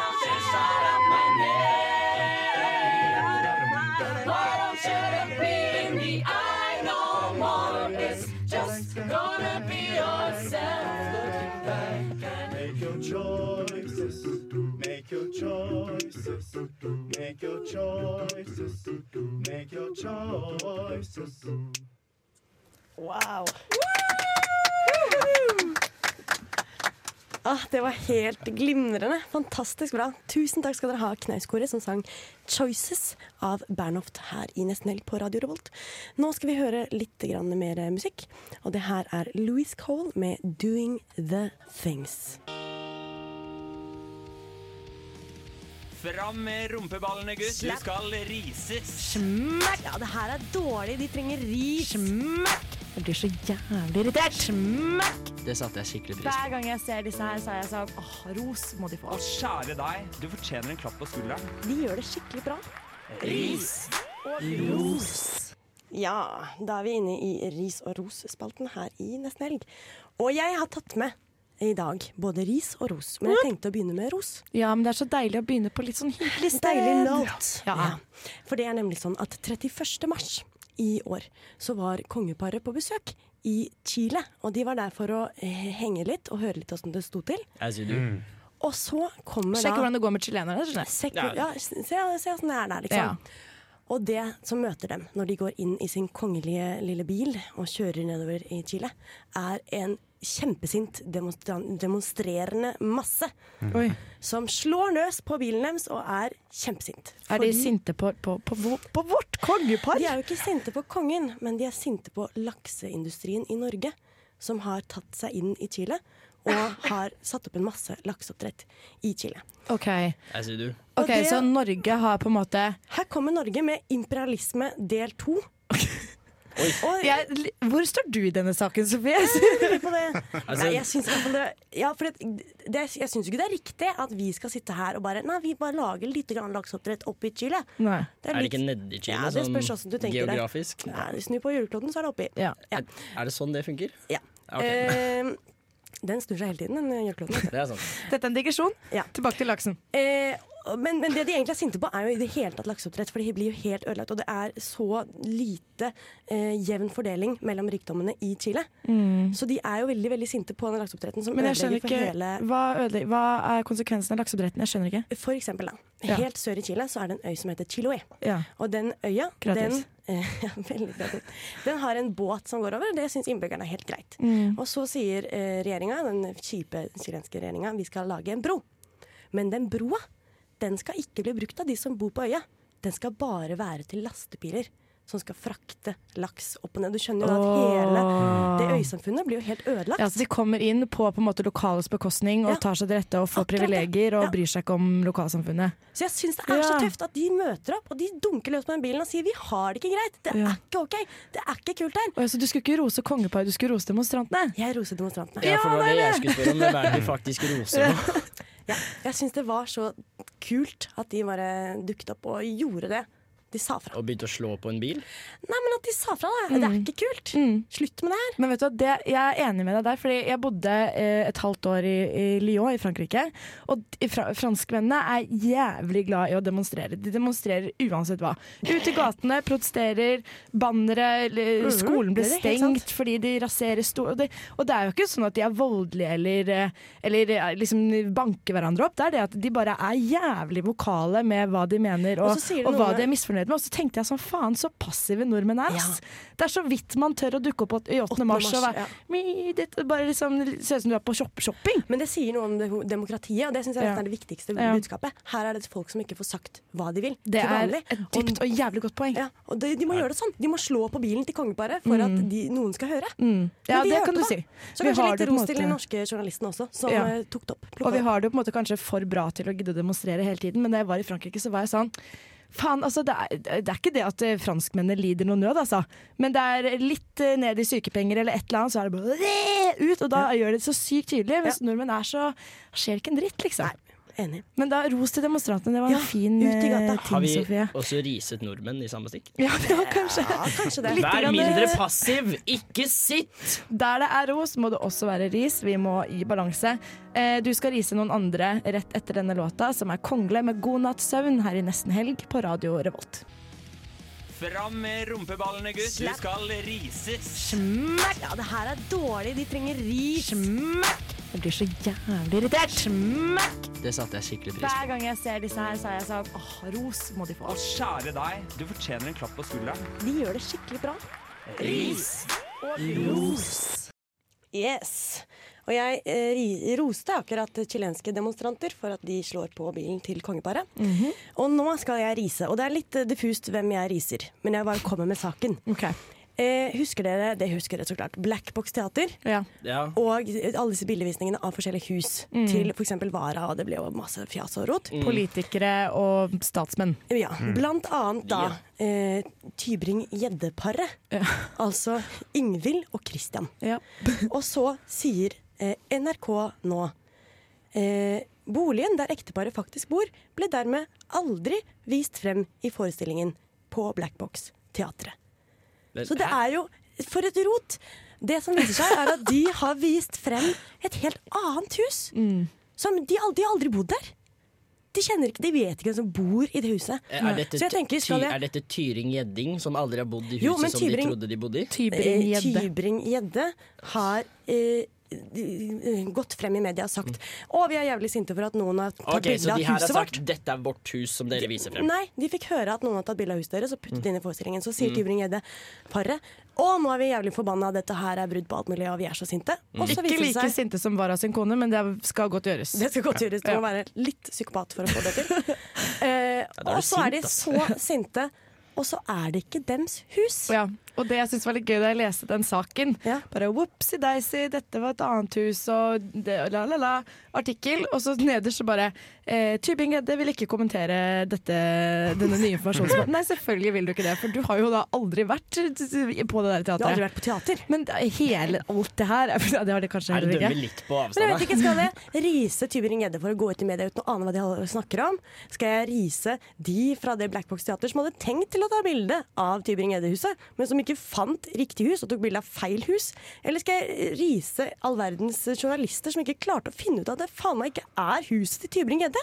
don't you shout out my name? Why don't you look me in the eye no more? It's just gonna be yourself. Looking back
Make your choices. Make your choices. Make your choices. Make your choices.
Wow. Ah, det var helt glimrende. Fantastisk bra. Tusen takk skal dere ha, Knauskoret, som sang 'Choices' av Bernhoft her i Nesten Helg på Radio Revolt. Nå skal vi høre litt grann mer musikk, og det her er Louis Cole med 'Doing The Things'.
Fram med rumpeballene, gutt.
Slapp.
Du skal rises.
Smekk! Ja, det her er dårlig. De trenger ris. Smekk! Jeg blir så jævlig irritert. Smekk!
Det satte jeg skikkelig
Mm.
pris på.
Hver gang jeg ser disse her, så er jeg sånn åh, ros må de få.
Å, kjære deg, du fortjener en klapp på skulderen.
De gjør det skikkelig bra.
Ris.
Og ros. Ja, da er vi inne i ris og ros-spalten her i Nesten Helg. Og jeg har tatt med i dag både ris og ros, men jeg tenkte å begynne med ros.
Ja, men det er så deilig å begynne på litt sånn hyggelig sted.
Deilig note.
Ja.
Ja. For det er nemlig sånn at 31. mars i år så var kongeparet på besøk i Chile. Og de var der for å eh, henge litt og høre litt åssen det sto til.
As you do.
Og så kommer da
Sjekk hvordan det går med chilenerne. skjønner jeg.
Sjekk, ja, se, se hvordan det er der,
Ja.
liksom. Og det som møter dem når de går inn i sin kongelige lille bil og kjører nedover i Chile, er en kjempesint demonstra- demonstrerende masse
Oi.
som slår løs på bilen deres og er kjempesint.
Er de
Fordi-
sinte på, på, på, vår- på vårt kongepar?
De er jo ikke sinte på kongen, men de er sinte på lakseindustrien i Norge, som har tatt seg inn i Chile og har satt opp en masse lakseoppdrett i Chile.
Ok,
As you do.
Ok, så Norge har på en måte
Her kommer Norge med imperialisme del to.
jeg, Hvor står du i denne saken, Sofie?
Altså-
Nei, jeg syns i hvert fall det, ja, for det, det, jeg syns ikke det er riktig at vi skal sitte her og bare Nei, vi bare lager litt grann lakseoppdrett oppi Chile.
Nei.
Det er
er, det
litt-
ikke nedi Chile,
Ja, det spørs
sånn
hvordan du tenker det.
geografisk?
Nei, Snu på julekloden, så er det oppi. Ja.
Er det sånn det funker?
Ja.
Ok.
Eh, den snur seg hele tiden, den julekloden. vet du.
Det er sånn. sant.
Dette er en digresjon. Tilbake til laksen.
Eh, men, men det de egentlig er sinte på, er jo i det hele tatt lakseoppdrett. For de blir jo helt ødelagt. Og det er så lite eh, jevn fordeling mellom rikdommene i Chile.
Mm.
Så de er jo veldig veldig sinte på den lakseoppdretten som
Men jeg skjønner
ødelegger for
ikke
hele
hva, ødele- hva er konsekvensen av lakseoppdretten? Jeg skjønner ikke.
For eksempel, da.
Ja.
Helt sør i Chile så er det en øy som heter Chiloé.
Ja.
Og den øya, den,
Kreativt.
ja, veldig kreativt. den har en båt som går over. Det syns innbyggerne er helt greit.
Mm.
Og så sier eh, regjeringa, den kjipe chilenske regjeringa, vi skal lage en bro. Men den broa, den skal ikke bli brukt av de som bor på øya. Den skal bare være til lastebiler. Som skal frakte laks opp og ned. Du skjønner jo at hele
Åh.
det øysamfunnet blir jo helt ødelagt.
Ja, så de kommer inn på, på en måte, lokales bekostning og tar seg til rette og får privilegier og bryr seg ikke om lokalsamfunnet.
Så jeg syns det er så
Ja.
tøft at de møter opp og de dunker løs på den bilen og sier vi har det ikke greit. Det er
Ja.
ikke ok. Det er ikke kult her.
Åh, så du skulle ikke rose kongeparet, du skulle rose demonstrantene?
Jeg roser demonstrantene.
Ja, for det var det jeg skulle spørre om. Hvem er det vi faktisk roser nå?
Jeg syns det var så kult at de bare dukket opp og gjorde det. De sa fra.
Og begynte å slå på en bil?
Nei, men at de sa fra, da. Det er ikke kult. Slutt med det her.
Mm. Men vet du hva, det, Jeg er enig med deg der, fordi jeg bodde eh, et halvt år i, i Lyon i Frankrike. Og de fra, franskmennene er jævlig glad i å demonstrere. De demonstrerer uansett hva. Ute i gatene, protesterer, bannere, eller
Mhm,
skolen ble
det er helt sant.
stengt fordi de raserer stor... Og det, og det er jo ikke sånn at de er voldelige eller, eh, eller eh, liksom banker hverandre opp. Det er det at de bare er jævlig vokale med hva de mener og,
Og så sier det noe
og hva
med-
de er misfornøyd med. Og så tenkte jeg sånn, faen så passive nordmenn er. ass. Det er så vidt man tør å dukke opp åt- i 8. mars, og
ja.
være «Mi, dette bare liksom ser ut som du er på shop shopping.
Men det sier noe om de- demokratiet, og det syns jeg
Ja.
nesten er det viktigste
Ja.
budskapet. Her er det folk som ikke får sagt hva de vil.
Det
til
er
vanlig.
et dypt og jævlig godt poeng.
Ja, og de, de må gjøre det sånn. De må slå på bilen til kongeparet for at de, noen skal høre.
Mm. Ja,
Men vi
det
hørte
kan du
da.
si.
Så
Vi
kanskje
har
litt
det på en
ros til de
måte.
norske journalistene også, som
Ja.
eh, tok det opp.
Og vi har det jo på en måte kanskje for bra til å gidde å demonstrere hele tiden, men da jeg var i Frankrike, så var jeg sånn Faen, altså, det er, det er ikke det at eh, franskmennene lider noe nød, altså. Men det er litt eh, ned i sykepenger eller et eller annet, så er det bare «Åh!» ut. Og da gjør det det så sykt tydelig. Mens nordmenn er så Skjer ikke en dritt, liksom.
Enig.
Men da ros til demonstrantene. Det var en fin
ut i gata.
eh,
Har
ting,
vi
Sofie.
også riset nordmenn i samme stikk?
Ja, det var kanskje,
det.
litt
Vær
grann- eh,
mindre passiv, ikke sitt!
Der det er ros, må det også være ris. Vi må i balanse. Eh, Du skal rise noen andre rett etter denne låta, som er 'Kongle med god natts søvn' her i nesten helg på Radio Revolt.
Fram med rumpeballene, gutt. Du skal rises.
Smekk! Ja, det her er dårlig. De trenger ris. Smekk!
Jeg blir så jævlig irritert. Smekk!
Det satte jeg skikkelig pris
Hver gang jeg ser disse her, så er jeg sånn åh, ros må de få.
Og kjære deg, du fortjener en klapp på skulderen.
De gjør det skikkelig bra.
Ris.
Og ros. Yes. Og jeg eh, ri- roste akkurat chilenske demonstranter for at de slår på bilen til kongeparet. Og nå skal jeg rise. Og det er litt eh, diffust hvem jeg riser, men jeg bare kommer med saken. Eh, husker dere det husker dere så klart, Black Box Teater?
Ja.
Og alle disse bildevisningene av forskjellige hus
Mm.
til f.eks. Vara, og det ble jo masse fjas og rot.
Politikere og statsmenn.
Ja,
Mm.
blant annet da eh, Tybring-Gjedde-paret. Altså Ingvild og Christian. og så sier eh, NRK nå eh, Boligen der ekteparet faktisk bor, ble dermed aldri vist frem i forestillingen på Blackbox-teatret. Så det er jo For et rot! Det som viser seg, er at de har vist frem et helt annet hus. Som de, al- de har aldri bodd der. De kjenner ikke, de vet ikke hvem som bor i det huset.
Er dette,
Mm. Så jeg tenker, skal
Ty-
jeg
er dette Tyring Gjedding, som aldri har bodd i huset
Jo, men
som
Tybring-
de trodde de bodde i?
Eh, Tybring-Gjedde har eh, eh, gått frem i media og sagt Å, vi er jævlig sinte for at noen har tatt
Mm. Ok, Så
bilde
de
av
her har
huset vårt.
sagt 'dette er vårt hus', som dere viser frem?
Nei, de fikk høre at noen har tatt bilde av huset deres og puttet det inn i forestillingen. Så sier
Mm.
Tybring-Gjedde paret Å, nå er vi jævlig forbanna, dette her er brudd på alt mulig, og vi er så sinte. Og så
Mm.
viser
Ikke
det
like
seg
sinte som Vara sin kone, men det skal godt gjøres.
det skal godt gjøres. Du må være litt psykopat for å få det til. Eh,
da er du
og så er de
sint, altså. ass.
så sinte, og så er det ikke dems hus.
Ja, og det jeg synes var litt gøy da jeg leste den saken Bare whoopsie-daisy, dette var et annet hus og det, la la la Artikkel, og så nederst så bare eh, Tybing Edde vil ikke kommentere dette, denne nye informasjonen Nei, selvfølgelig vil du ikke det, for du har jo da aldri vært eh, på det der teatret
Du har aldri vært på teater Men
det- hele, alt det her, ja, det har det kanskje
Her
heller
dømmer
ikke
vi litt på
Men jeg vet ikke,
avstand.
Skal jeg rise Tybring-Gjedde for å gå ut i media uten å ane hva de holder- snakker om? Skal jeg rise de fra det Black Box Teater som hadde tenkt til å ta bilde av Tybring-Gjedde-huset, men som ikke fant riktig hus og tok bilde av feil hus? Eller skal jeg rise all verdens journalister som ikke klarte å finne ut at det faen meg ikke er huset til Tybring-Gjedde?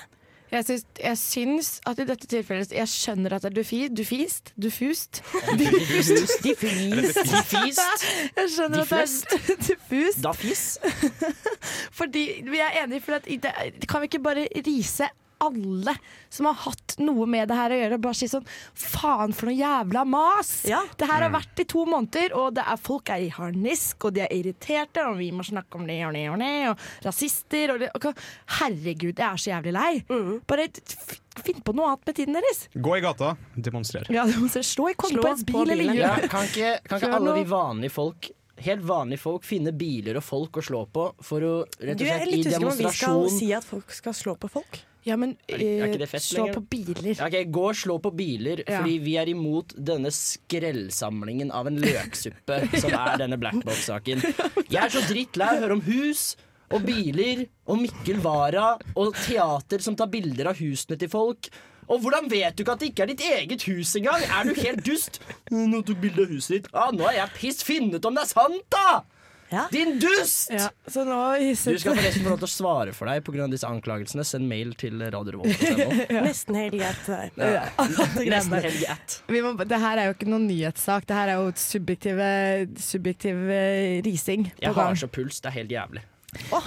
Jeg syns, jeg syns at i dette tilfellet Jeg skjønner at det er dufi, dufist, dufust
Diffust. Diffust.
Jeg skjønner at det er diffust.
Dafis.
Fordi vi er enige, for at i det, kan vi ikke bare rise alle som har hatt noe med det her å gjøre, og bare si sånn faen for noe jævla mas! Det her har
Mm.
vært i to måneder, og det er, folk er i harnisk, og de er irriterte, og vi må snakke om det og det og det, og rasister og det og, Herregud, jeg er så jævlig lei! Bare f- finn på noe annet med tiden deres!
Gå i gata, demonstrer.
Ja, du må se, slå i kongen på en bil eller gjør
Ja, kan ikke, kan ikke
Gjør
alle
noe.
de vanlige folk Helt vanlige folk finne biler og folk å slå på for å rett
Du,
og
jeg er
slett i
litt usikker på om vi skal
demonstrasjon
si at folk skal slå på folk.
Ja, men eh,
Er, er
Eh,
ikke det fett lenger?
biler.
Ja, ok, gå og slå på biler,
Ja.
fordi vi er imot denne skrellsamlingen av en løksuppe som er denne blackbox-saken. Jeg er så drittlei av å høre om hus og biler og Mikkel Wara og teater som tar bilder av husene til folk. Og hvordan vet du ikke at det ikke er ditt eget hus engang? Er du helt dust? Nå tok bilde av huset ditt. Ah, nå er jeg piss. Finn ut om det er sant, da! Din dust!
Ja, så nå
Du skal forresten få lov til å svare for deg pga. disse anklagelsene. Send mail til Radio Revolt.
Nesten helt greit. det der.
Ja.
Nesten helg at.
Vi må, det her er jo ikke noen nyhetssak, det her er jo subjektive, subjektiv eh, rising på
Jeg har
gang.
så puls. Det er helt jævlig.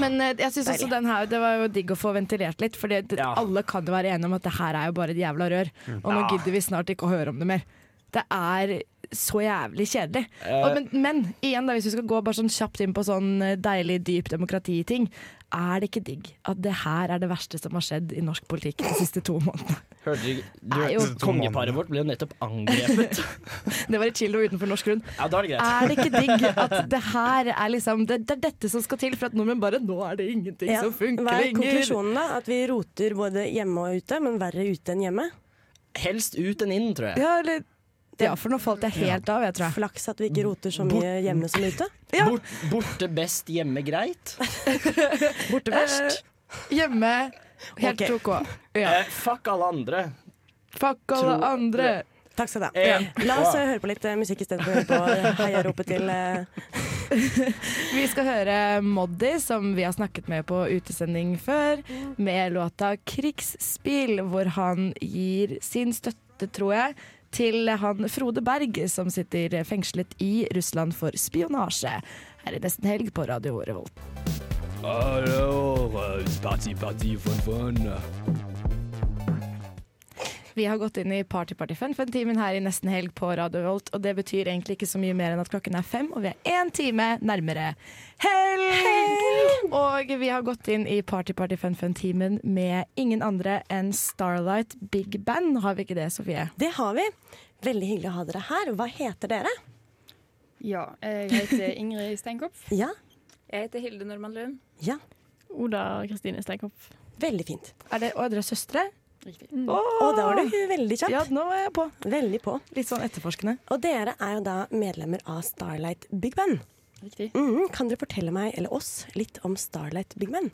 Men eh, jeg synes også
Deilig.
den her, det var jo digg å få ventilert litt, for alle kan jo være enige om at det her er jo bare et jævla rør.
Mm.
Og nå
Ja.
gidder vi snart ikke å høre om det mer. Det er så jævlig kjedelig.
Eh.
Og, men, men igjen, da, hvis vi skal gå bare sånn kjapt inn på sånn eh, deilig, dyp demokrati-ting, er det ikke digg at det her er det verste som har skjedd i norsk politikk de siste to månedene?
Hørte du, ikke- du
Er
hørte-
jo-
Kongeparet vårt ble jo nettopp angrepet.
Det var i Chilo utenfor norsk grunn.
Ja, da er det greit.
Er det ikke digg at det her er liksom Det, det er dette som skal til for at nordmenn bare Nå er det ingenting
Ja.
som funker
Hva er
lenger.
konklusjonen, da? At vi roter både hjemme og ute, men verre ute enn hjemme?
Helst ut enn inn, tror jeg.
Ja, eller Ja, for nå falt jeg helt av, jeg tror jeg.
Flaks at vi ikke roter så mye hjemme som ute.
Bort, borte best, hjemme greit.
Borte verst. eh, hjemme helt
Ok.
OK.
Eh, fuck alle andre.
Fuck alle
Tror-
andre.
Takk skal du ha.
Eh,
La oss
wow.
eh, høre på litt eh, musikk istedenfor å høre på heiaropet til eh,
Vi skal høre Moddi, som vi har snakket med på utesending før, med låta 'Krigsspill', hvor han gir sin støtte, tror jeg, til han Frode Berg, som sitter fengslet i Russland for spionasje. Her er Nesten Helg på Radio Revolt.
Alors, euh, c'est parti, parti, fun, fun.
Vi har gått inn i Party Party Fun for en timen her i Nesten Helg på Radio Revolt, og det betyr egentlig ikke så mye mer enn at klokken er fem, og vi er én time nærmere helg! Og vi har gått inn i Party Party Fun Fun-timen med ingen andre enn Starlight Big Band. Har vi ikke det, Sofie?
Det har vi. Veldig hyggelig å ha dere her. Hva heter dere?
Ja, eh, jeg heter Ingrid Steinkopf.
Ja.
Jeg heter Hilde Normann Lund.
Ja.
Oda Kristine Steinkopf.
Veldig fint.
Er det, og er dere søstre?
Riktig.
Og da Mm. Oh, var du veldig kjapp.
Ja, nå er jeg på.
Veldig på.
Litt sånn etterforskende.
Og dere er jo da medlemmer av Starlight Big Band.
Riktig.
Mhm. kan dere fortelle meg, eller oss, litt om Starlight Big Band?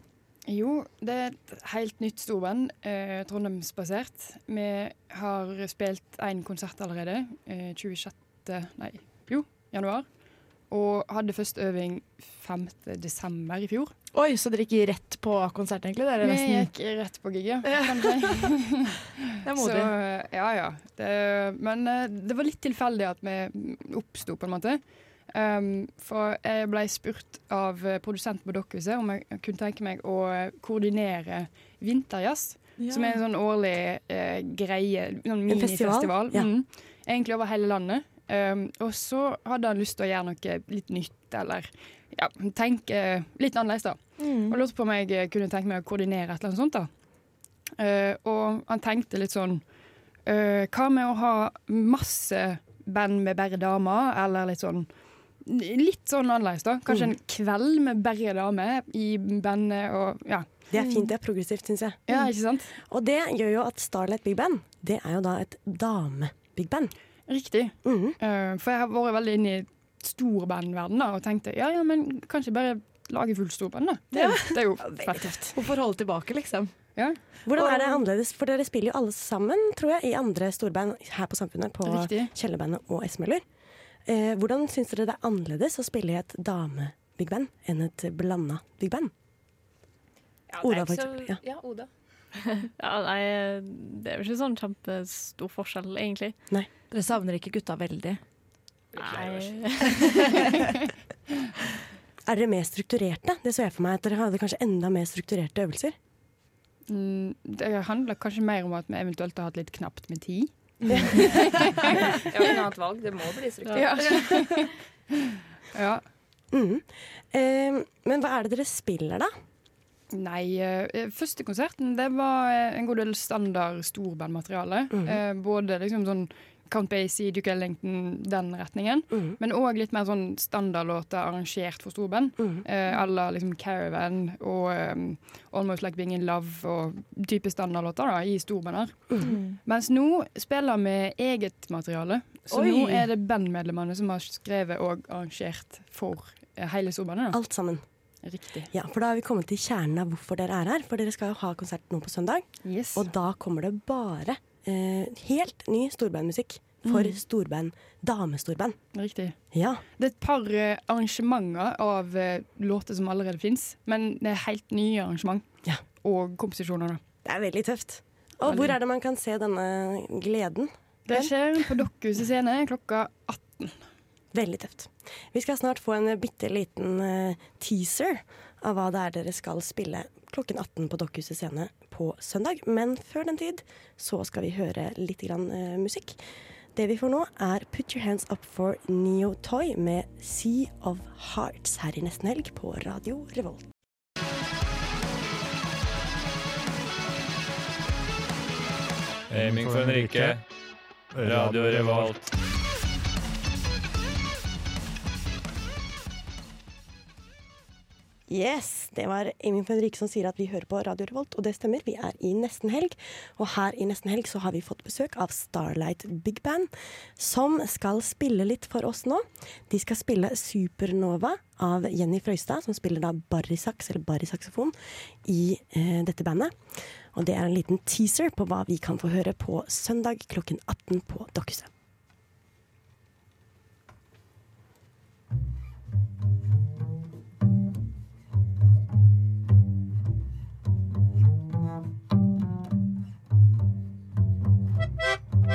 Jo, det er et helt nytt storband, eh, Trondheimsbasert. Vi har spilt én konsert allerede. Eh, 26. Nei, slapp jo januar. Og hadde først øving 5. desember i fjor.
Oi, så dere gikk rett på konsert, egentlig? Dere,
Vi
nesten.
gikk rett på gig, ja. kan du si.
Det er modig.
Så, ja, ja. Det, men eh, det var litt tilfeldig at vi oppsto, på en måte. Um, for jeg ble spurt av eh, produsenten på Dokkhuset om jeg kunne tenke meg å eh, koordinere Vinterjazz,
Ja.
som er en sånn årlig eh, greie, sånn
En festival?
minifestival.
Ja.
Mm. Egentlig over hele landet. Um, og så hadde han lyst til å gjøre noe litt nytt, eller ja, tenke litt annerledes, da.
Mm.
Og lurte på om jeg eh, kunne tenke meg å koordinere et eller annet sånt, da. Eh, og han tenkte litt sånn eh, Hva med å ha masse band med bare damer, eller litt sånn Litt sånn annerledes, da. Kanskje
Mm.
en kveld med bare damer i bandet og ja.
Det er fint, det er progressivt, syns jeg.
Mm.
Mm.
Ja, ikke sant?
Og det gjør jo at Starlight Big Band, det er jo da et dame-big band.
Riktig. Eh, for jeg har vært veldig inne i storbandverden da, og tenkte ja, ja, men kanskje bare lage fullt storband, da. Det, er- det er jo fett tøft.
Hvorfor holde tilbake, liksom?
Ja.
Hvordan er
Og-
det annerledes? For dere spiller jo alle sammen, tror jeg, i andre storband her på Samfunnet, på
Riktig.
Kjellerbandet og S-Møller. Eh, hvordan syns dere det er annerledes å spille i et dame-big band enn et blanda big band? Oda, for eksempel. Ja.
Ja, Oda. ja, nei, det er jo ikke sånn kjempestor forskjell, egentlig.
Nei.
Dere savner ikke gutta veldig?
Nei.
Er dere mer strukturerte? Det så jeg for meg at dere hadde kanskje enda mer strukturerte øvelser.
Mm, Det handler kanskje mer om at vi eventuelt har hatt litt knapt med tid.
Jeg har ikke noe annet valg, det må bli struktur.
Ja.
Mm. Eh, men hva er det dere spiller, da?
Nei, eh, første konserten det var eh, en god del standard storbandmateriale.
Mhm.
Eh, både liksom sånn Count Basie, Duke Ellington, den retningen.
Mhm.
Men òg litt mer sånn standardlåter arrangert for storband.
Mhm.
Eh, à la liksom Caravan og eh, Almost Like Being In Love og type standardlåter da, i storbander.
Mhm.
Mens nå spiller vi eget materiale. Så
Oi.
nå er det bandmedlemmene som har skrevet og arrangert for eh, hele storbandet. da.
Alt sammen.
Riktig.
Ja, for da har vi kommet til kjernen av hvorfor dere er her. For dere skal jo ha konsert nå på søndag. Og da kommer det bare eh, helt ny storbandmusikk for
Mm.
storband. Damestorband.
Riktig.
Ja.
Det er et par eh, arrangementer av eh, låter som allerede fins, men det er helt nye arrangement og komposisjoner. da.
Det er veldig tøft. Og hvor er det man kan se denne gleden?
Det skjer på Dokkhuset scene klokka 18.
Veldig tøft. Vi skal snart få en bitte liten eh, teaser av hva det er dere skal spille klokken 18 på Dokkhuset scene på søndag. Men før den tid så skal vi høre litt grann, eh, musikk. Det vi får nå, er Put Your Hands Up for Neo Toy med Sea of Hearts her i nesten helg på Radio Revolt.
Aiming for den rike. Radio Revolt.
Yes, Det var Amy Fenrike som sier at vi hører på Radio Revolt, og det stemmer. Vi er i Nesten Helg, og her i Nesten Helg så har vi fått besøk av Starlight Big Band, som skal spille litt for oss nå. De skal spille Supernova av Jenny Frøystad, som spiller da barisaks, eller barisaksofon, i eh, dette bandet. Og det er en liten teaser på hva vi kan få høre på søndag klokken 18 på Dokkhuset.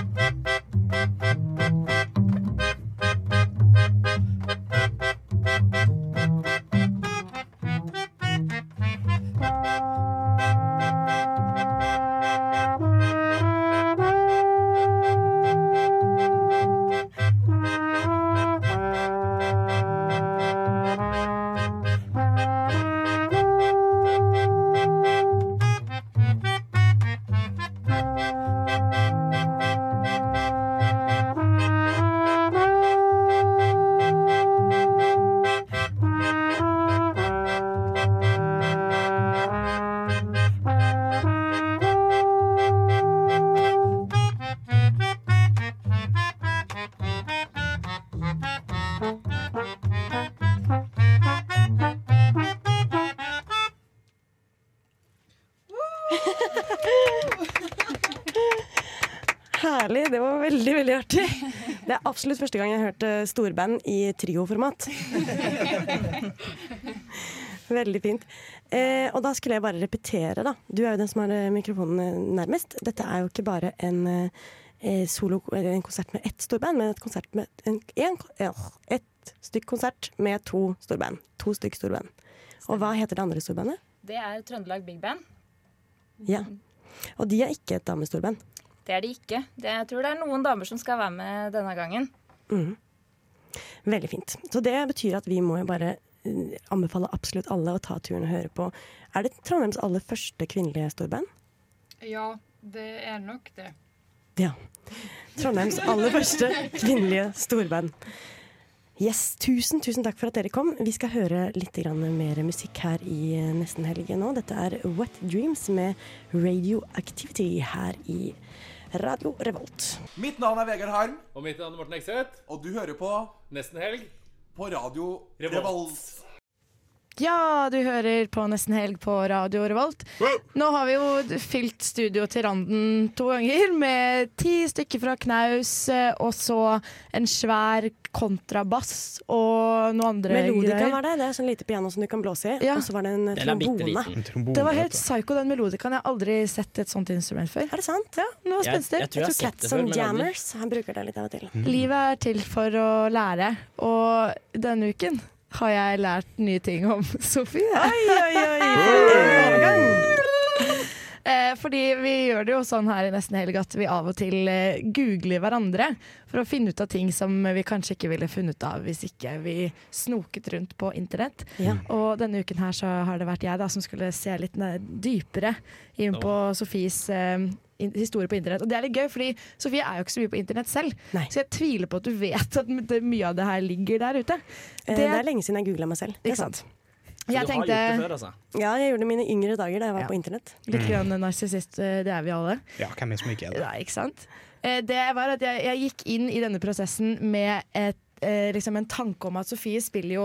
Thank you.
hørte Det er absolutt første gang jeg hørte storband i trioformat. Veldig fint. Eh, og da skulle jeg bare repetere, da. Du er jo den som har eh, mikrofonen eh, nærmest. Dette er jo ikke bare en eh, solo, eller en konsert med ett storband, men et konsert med en, en, eh, ett stykk konsert med to storband. To stykk storband. Og hva heter det andre storbandet?
Det er Trøndelag Big Band.
Ja. Og de er ikke et damestorband.
Det er de ikke. Det, jeg tror det er noen damer som skal være med denne gangen.
Mhm. Veldig fint. Så det betyr at vi må jo bare eh, anbefale absolutt alle å ta turen og høre på. Er det Trondheims aller første kvinnelige storband?
Ja, det er nok det.
Ja. Trondheims aller første kvinnelige storband. Yes, tusen, tusen takk for at dere kom. Vi skal høre litt grann mer musikk her i eh, Nesten helg nå. Dette er Wet Dreams med Radioactivity her i Radio Revolt.
Mitt navn er Vegard Harm.
Og mitt navn er Morten Ekseth.
Og du hører på
Nesten helg.
på Radio
Revolt.
Revolt.
Ja, du hører på Nesten Helg på Radio Revolt. Nå har vi jo fylt studio til randen to ganger med ti stykker fra knaus, eh, og så en svær kontrabass og noe andre
Melodikaen
greier.
var det. Det er sånn lite piano som du kan blåse i. Og så var det en eh,
Den er
trombone.
bitteliten. En trombone, Det var helt vet psycho, den melodikaen. Jeg har aldri sett et sånt instrument før.
Er det sant?
Ja, den var
Jeg- jeg tror
spenstig.
jeg har Jeg tror sett det Cats før, and men aldri- Jammers. Han bruker det litt av og til. Eh,
Livet er til for å lære, og denne uken har jeg lært nye ting om Sofie. Oi,
oi, oi!
Eh, fordi vi gjør det jo sånn her i nesten helg at vi av og til eh, googler hverandre for å finne ut av ting som vi kanskje ikke ville funnet av hvis ikke vi snoket rundt på internett.
Ja.
Og denne uken her så har det vært jeg da som skulle se litt ned- dypere inn på Sofies eh, in- historie på internett. Og det er litt gøy, fordi Sofie er jo ikke så mye på internett selv. Så jeg tviler på at du vet at m- det, mye av det her ligger der ute.
Eh, Det er lenge siden jeg googla meg selv. Det er sant.
Jeg tenkte,
altså.
Ja, jeg gjorde det i mine yngre dager da jeg var på internett.
Litt grann narsissist, eh, det er vi alle.
Ja, hvem er det som ikke er det?
Nei, ikke sant? Eh, Det var at jeg, jeg gikk inn i denne prosessen med et, eh, liksom en tanke om at Sofie spiller jo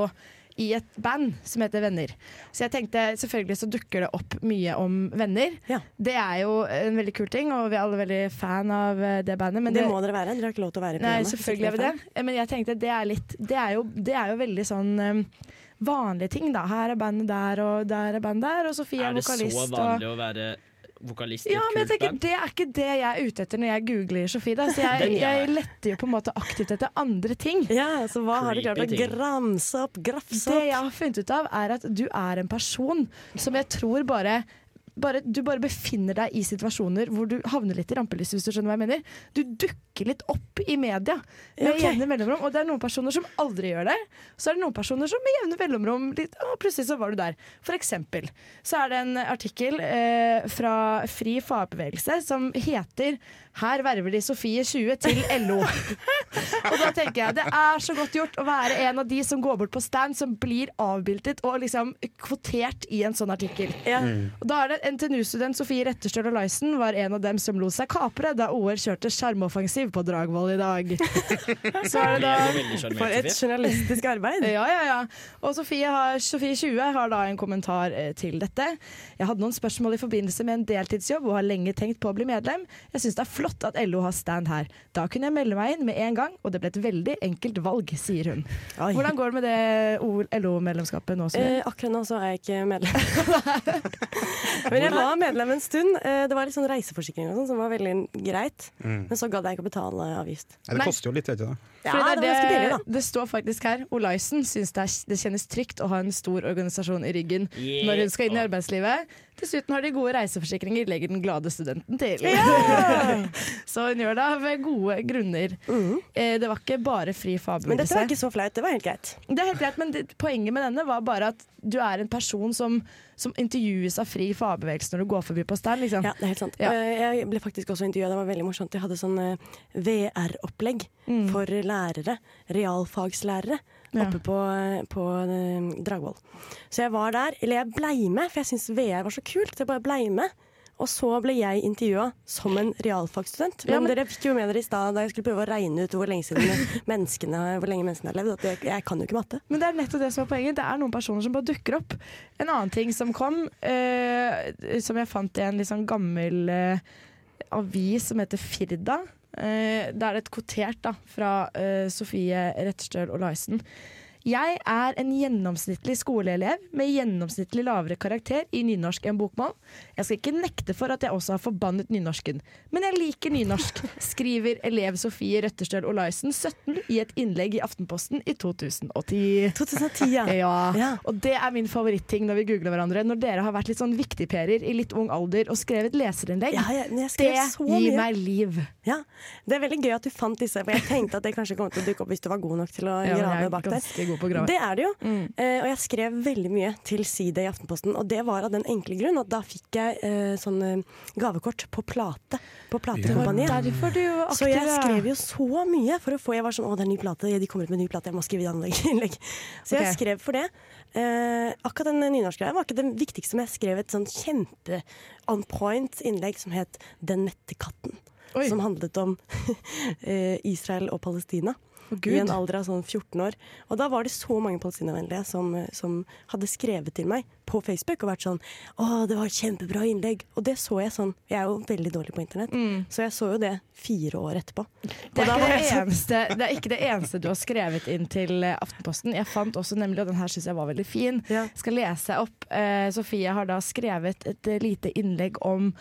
i et band som heter Venner. Så jeg tenkte selvfølgelig så dukker det opp mye om venner. Det er jo en veldig kul ting, og vi er alle veldig fan av eh, det bandet. Men
det, må dere være. Dere har ikke lov til å være i
Nei,
programmet.
selvfølgelig er vi det. Eh, Men jeg tenkte det er, litt, det er, jo, det er jo veldig sånn eh, vanlige ting, da. Her er bandet der, og der er bandet der, og Sofie er,
Er det så
vokalist. og...
vanlig å være vokalist i
Ja, men
et
jeg
kult
tenker
band?
Det er ikke det jeg er ute etter når jeg googler Sofie. Da. Så
Den
jeg,
er
jeg letter jo på en måte aktivt etter andre ting.
Ja, så hva har du klart å Creepy ting. gramse opp, grafse
Det jeg har funnet ut av, er at du er en person som jeg tror bare bare, du bare befinner deg i situasjoner hvor du havner litt i rampelyset. hvis Du skjønner hva jeg mener. Du dukker litt opp i media med
Ok.
jevne mellomrom. Og det er noen personer som aldri gjør det. Så er det noen personer som med jevne mellomrom litt, å, plutselig så var du der. For eksempel så er det en artikkel eh, fra Fri fagbevegelse som heter 'Her verver de Sofie 20 til LO'. Og da tenker jeg det er så godt gjort å være en av de som går bort på stand, som blir avbildet og liksom kvotert i en sånn artikkel.
Mm.
Og da er det NTNU-student Sofie Retterstøl og Lysen var en av dem som lot seg kapre da OL kjørte sjarmoffensiv på Dragvoll i dag. Så er det
Du er veldig
da
sjarmerende, For et Sofie.
journalistisk arbeid.
Ja, ja, ja. Og Sofie, har, Sofie 20 har da en kommentar eh, til dette. Jeg hadde noen spørsmål i forbindelse med en deltidsjobb og har lenge tenkt på å bli medlem. Jeg syns det er flott at LO har stand her. Da kunne jeg melde meg inn med en gang, og det ble et veldig enkelt valg, sier hun. Hvordan går det med det LO-medlemskapet nå? Sofie?
Eh, akkurat nå så er jeg ikke medlem. Men jeg var medlem en stund. Eh, det var litt sånn reiseforsikring og sånn som var veldig greit.
Mm.
Men så gadd jeg ikke å betale avgift.
Ja, det koster jo litt, vet du det.
Ja,
Fordi
det var ganske billig, da.
Det står faktisk her Olaisen syns det, er, det kjennes trygt å ha en stor organisasjon i ryggen
Yeah.
når hun skal inn i arbeidslivet. Dessuten har de gode reiseforsikringer, legger den glade studenten til. så hun gjør det av gode grunner. Eh, det var ikke bare fri fabelbevegelse.
Mm. Men dette var ikke så flaut. Det var helt greit.
Det er helt greit, men det, poenget med denne var bare at du er en person som, som intervjues av fri fagbevegelse når du går forbi på stand. Liksom.
Ja, det er helt sant.
Ja.
Eh, Jeg ble faktisk også intervjua, det var veldig morsomt. De hadde sånn eh, VR-opplegg for lærere, realfagslærere,
Mm. Ja.
oppe på, eh, på eh, Dragvoll. Så jeg var der, eller jeg blei med, for jeg syntes VR var så kult. Jeg bare blei med. Og så ble jeg intervjua som en realfagsstudent. Men,
Ja, men-
dere fikk jo med dere i stad da jeg skulle prøve å regne ut hvor lenge, siden menneskene, hvor lenge menneskene har levd, at jeg, jeg kan jo ikke matte.
Men det er nettopp det som er poenget. Det er noen personer som bare dukker opp. En annen ting som kom, eh, som jeg fant i en litt sånn gammel eh, avis som heter Firda. Eh, da er det et kvotert da, fra eh, Sofie Rettstøl Olaisen. Jeg er en gjennomsnittlig skoleelev med gjennomsnittlig lavere karakter i nynorsk enn bokmål. Jeg skal ikke nekte for at jeg også har forbannet nynorsken, men jeg liker nynorsk, skriver elev Sofie Røtterstøl Olaisen 17 i et innlegg i Aftenposten i 2010.
2010, ja.
Og det er min favoritting når vi googler hverandre. Når dere har vært litt sånn viktigperer i litt ung alder og skrevet leserinnlegg,
Ja, jeg- men jeg skrev
det
så mye.
gir meg liv.
Ja, Det er veldig gøy at du fant disse, for jeg tenkte at det kanskje kom til å dukke opp hvis du var god nok til å
Ja, men jeg
grave
er
bak der.
ganske god på å grave. Mm.
Det er det jo. Eh, og jeg skrev veldig mye til Side i Aftenposten, og det var av den enkle grunn at da fikk jeg eh, sånn eh, gavekort på plate. På platekompaniet.
Ja, derfor du var
Så jeg
aktiv, ja.
skrev jo så mye for å få Jeg var sånn å, det er ny plate, de kommer ut med ny plate, jeg må skrive innlegg. Så jeg
Ok.
skrev for det. Eh, akkurat den nynorskgreia var ikke det viktigste, men jeg skrev et sånn kjempe on point innlegg som het 'Den mette katten'. Som handlet om eh, Israel og Palestina.
Gud.
I en alder av sånn 14 år. Og da var det så mange palestinavennlige som, eh, som hadde skrevet til meg på Facebook og vært sånn 'Å, det var et kjempebra innlegg'. Og det så jeg sånn. Jeg er jo veldig dårlig på internett, så jeg så jo det fire år etterpå.
Mm.
Og
Det er,
da
ikke
var
det,
jeg sånn-
eneste, det er ikke det eneste du har skrevet inn til eh, Aftenposten. Jeg fant også nemlig, og den her syns jeg var veldig fin, skal lese opp. Eh, Sofie har da skrevet et eh, lite innlegg om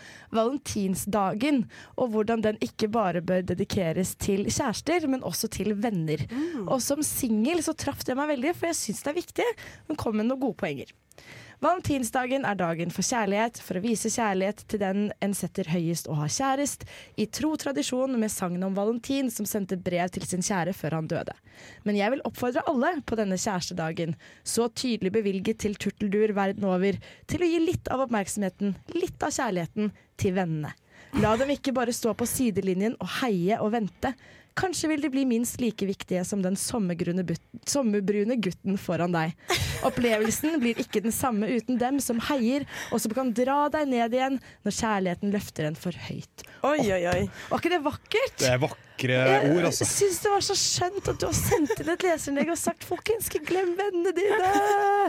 valentinsdagen, og hvordan den ikke bare bør dedikeres til kjærester, men også til venner.
Mm.
Og som singel så traff det meg veldig, for jeg syns det er viktig. Hun kom med noen gode poenger. Valentinsdagen er dagen for kjærlighet, for å vise kjærlighet til den en setter høyest og har kjærest, i tro tradisjon med sagnet om Valentin som sendte brev til sin kjære før han døde. Men jeg vil oppfordre alle på denne kjærestedagen, så tydelig bevilget til turteldur verden over, til å gi litt av oppmerksomheten, litt av kjærligheten, til vennene. La dem ikke bare stå på sidelinjen og heie og vente. Kanskje vil de bli minst like viktige som den sommergrune but- sommerbrune gutten foran deg. Opplevelsen blir ikke den samme uten dem som heier, og som kan dra deg ned igjen når kjærligheten løfter en for høyt.
Oi, oi, oi.
Var ikke det vakkert?
Det er vakre ord, altså.
Jeg syns det var så skjønt at du har sendt inn et leserinnlegg og sagt 'folkens, ikke glem vennene dine'.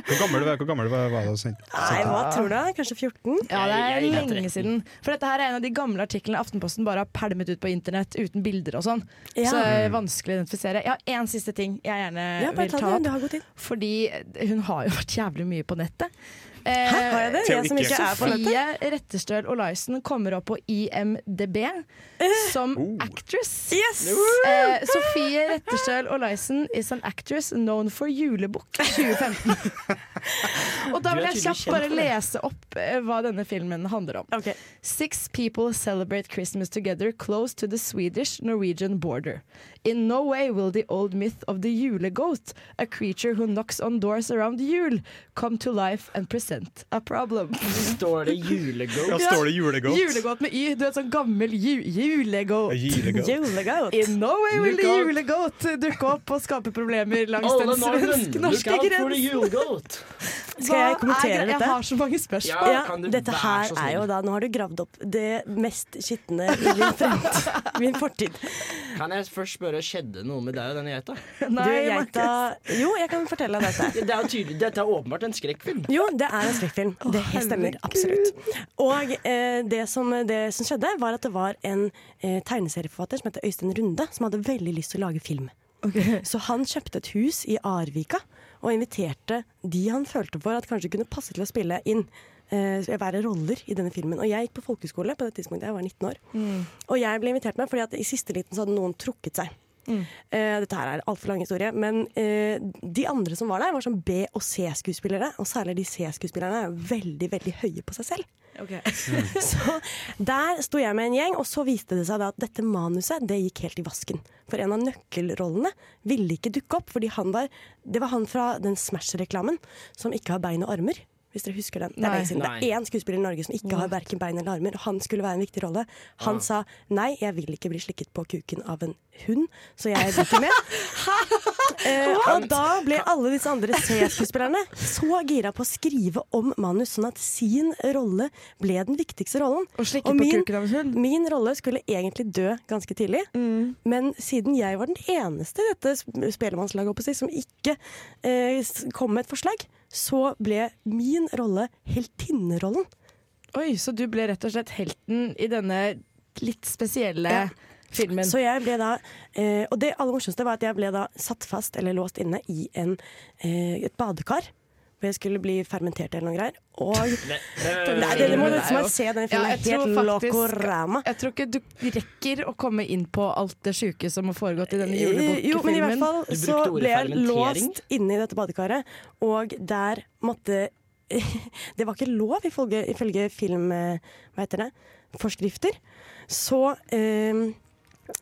Hvor gammel, var- hvor gammel var var det? Sint?
Nei, hva tror du? Kanskje 14?
Ja, det er
Jeg- jeg- jeg-
lenge siden. For dette her er en av de gamle artiklene Aftenposten bare har pælmet ut på internett uten bilder og sånn.
Ja.
Så det er
Mm.
vanskelig å identifisere. Jeg har én siste ting jeg gjerne
Ja, bare
vil
ta
ta
den,
opp.
du har god tid.
Fordi hun har jo vært jævlig mye på nettet. Eh,
Hæ, har jeg det? Jeg som ikke er på nettet?
Sofie Rettestøl Olaisen kommer opp på IMDb som actress.
Eh. Yes!
Eh, Sofie Rettestøl Olaisen is an actress known for julebukk 2015. Og da
Du er
vil jeg
tydelig
kjapt
kjent
bare
for det.
lese opp eh, hva denne filmen handler om. Six people celebrate Christmas together close to the Swedish-Norwegian border. In no way will the old myth of the julegoat, a creature who knocks on doors around jul, come to life and present a problem.
Står det julegoat?
Ja, står det Julegoat med Y. Du er et sånn gammel ju julegoat.
Julegoat.
Julegoat.
In no way will the
Lookout.
julegoat dukke opp og skape problemer langs
Alle
den
nordmenn, look
svensk-norske
out for the
grensen.
Skal jeg
Hva er
kommentere
gre-
dette?
Jeg har så mange spørsmål.
Ja, dette her er jo da, Nå har du gravd opp det mest skitne i min, fremtid, min fortid.
Kan jeg først spørre, skjedde noe med deg og denne geita?
du, geita Jo, jeg kan fortelle deg dette.
Det er jo tydelig, dette er åpenbart en skrekkfilm.
Jo, det er en skrekkfilm. Det stemmer absolutt. Og eh, det, som, det som skjedde, var at det var en eh, tegneserieforfatter som het Øystein Runde, som hadde veldig lyst til å lage film. Så han kjøpte et hus i Arvika og inviterte de han følte for at kanskje kunne passe til å spille inn. eh, være roller i denne filmen. Og jeg gikk på folkehøyskole på det tidspunktet jeg var 19 år.
Mm.
Og jeg ble invitert med fordi at i siste liten så hadde noen trukket seg. Eh, dette her er en altfor lang historie, men eh, de andre som var der, var sånn B- og C-skuespillere. Og særlig de C-skuespillerne er jo veldig, veldig høye på seg selv. Så der sto jeg med en gjeng, og så viste det seg da at dette manuset det gikk helt i vasken. For en av nøkkelrollene ville ikke dukke opp, fordi han var, det var han fra den Smash-reklamen som ikke har bein og armer. Hvis dere husker den. Det er,
Nei.
lenge siden. det
Nei.
er én skuespiller i Norge som ikke har verken bein eller armer, og han skulle være en viktig rolle. Han
Ah.
sa nei, jeg vil ikke bli slikket på kuken av en hund, så jeg blir ikke med. Eh, og da ble alle disse andre C-skuespillerne så gira på å skrive om manus, sånn at sin rolle ble den viktigste rollen. Og,
slikke på
min,
kuken av
min rolle skulle egentlig dø ganske tidlig,
Mm.
men siden jeg var den eneste i dette sp- spelemannslaget holdt på å si, som ikke eh, s- kom med et forslag, så ble min rolle heltinnerollen.
Oi, så du ble rett og slett helten i denne litt spesielle filmen.
Så jeg ble da eh, Og det aller morsomste var at jeg ble da satt fast eller låst inne i en, eh, et badekar. Hvor jeg skulle bli fermentert eller noe greier. Og Nei, det, det må du liksom bare se denne filmen. er
Ja, jeg
helt
tror faktisk-
locorama.
Jeg tror ikke du rekker å komme inn på alt det sjuke som har foregått i denne
Eh, Jo, men i hvert fall
julebukfilmen.
så ble jeg låst inne i dette badekaret, og der måtte Det var ikke lov ifølge, ifølge film... eh, Hva heter det? Forskrifter. Så eh,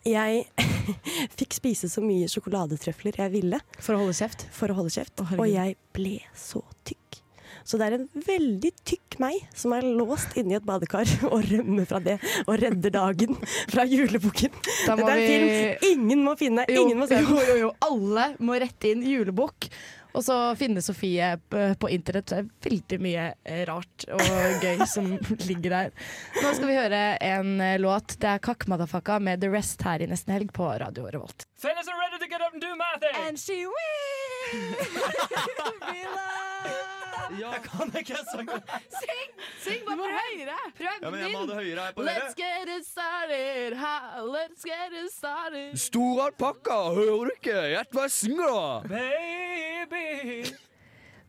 jeg fikk spise så mye sjokoladetrøfler jeg ville.
For å holde kjeft?
For å holde kjeft.
herregud.
og jeg ble så tykk. Så det er en veldig tykk meg som er låst inni et badekar og rømmer fra det og redder dagen fra julebukken.
Da må
Dette er en
vi-
film ingen må finne.
Jo,
ingen må se
jo, jo, jo. Alle må rette inn julebukk. Og så finne Sofie p- på internett. Det er veldig mye eh, rart og gøy som ligger der. Nå skal vi høre en eh, låt. Det er Kakk Madafaka med The Rest her i Nesten Helg på Radio Revolt.
Fellas are ready to get up and do my thing. And she will be loved.
Jeg kan ikke sangen.
Syng!
Syng bare høyere! Prøv
Ja, men jeg må ha det høyere her på
Let's
øret.
get it started, ha, let's get it started.
Stor alpakka, hører du ikke? Gjett hva jeg synger, da!
Baby.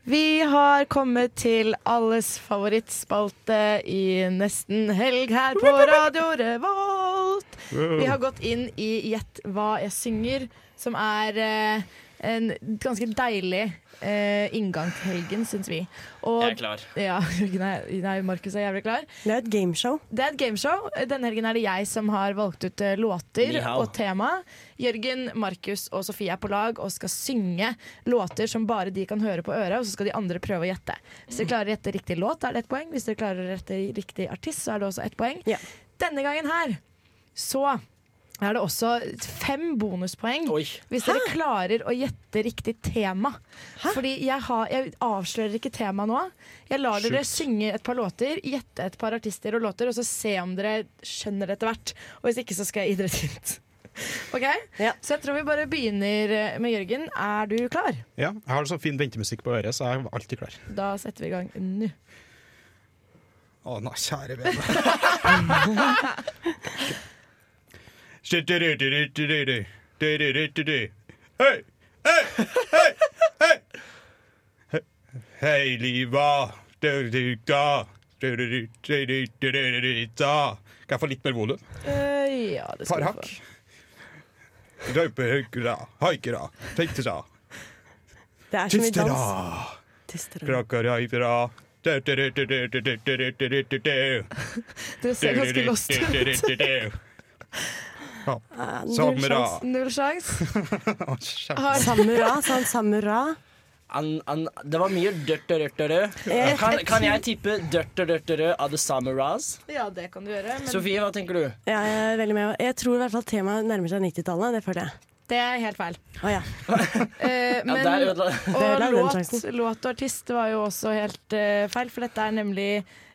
Vi har kommet til alles favorittspalte i nesten helg her på Radio Revolt. Vi har gått inn i Gjett hva jeg synger, som er eh, en ganske deilig eh, inngang til helgen, syns vi. Og-
Jeg er klar.
Ja, Jørgen er- nei, Markus er jævlig klar.
Det er et gameshow.
Det er et gameshow. Denne helgen er det jeg som har valgt ut eh, låter
Ni hao.
og tema. Jørgen, Markus og Sofie er på lag og skal synge låter som bare de kan høre på øret, og så skal de andre prøve å gjette. Hvis dere klarer å gjette riktig låt, er det ett poeng. Hvis dere klarer å gjette riktig artist, så er det også ett poeng. Denne gangen her så er det også fem bonuspoeng hvis dere klarer å gjette riktig tema. Fordi jeg, har, jeg avslører ikke temaet nå. Jeg lar dere
Sjukt.
synge et par låter, gjette et par artister og låter, og så se om dere skjønner det etter hvert. Og hvis ikke, så skal jeg gi dere et hint. Ok? Så jeg tror vi bare begynner eh, med Jørgen. Er du klar?
Ja, jeg har så fin ventemusikk på øret, så jeg er alltid klar.
Da setter vi i gang nå.
Å, nei, kjære vene.
Hei! Hei! Hei! Hei! Hei, liva. Da.
Kan jeg få litt mer volum?
Eh, ja, det skal
Par
du
hakk. Røypehøykera, haikera, teitera,
Det er som i
tistera,
dans. Tistera.
krakaraipera. Dere
ser ganske lost
ut.
Ah, null
Samera.
sjans.
Null sjans.
Har- Samura, sa han samura.
An, an, det var mye dørt og rørt og rød.
Eh,
Kan,
jeg
kan
tror-
jeg tippe dørt og rørt og rød av The Samuras?
Ja, det kan du gjøre. Men
Sofie, hva tenker du?
Ja, jeg er veldig med. Jeg tror i hvert fall temaet nærmer seg 90-tallet. Det føler jeg.
det er helt feil.
Å ja.
Eh, men,
der ødela- Der
og
ødela den
låt,
sjansen.
låt og artist var jo også helt eh, feil, for dette er nemlig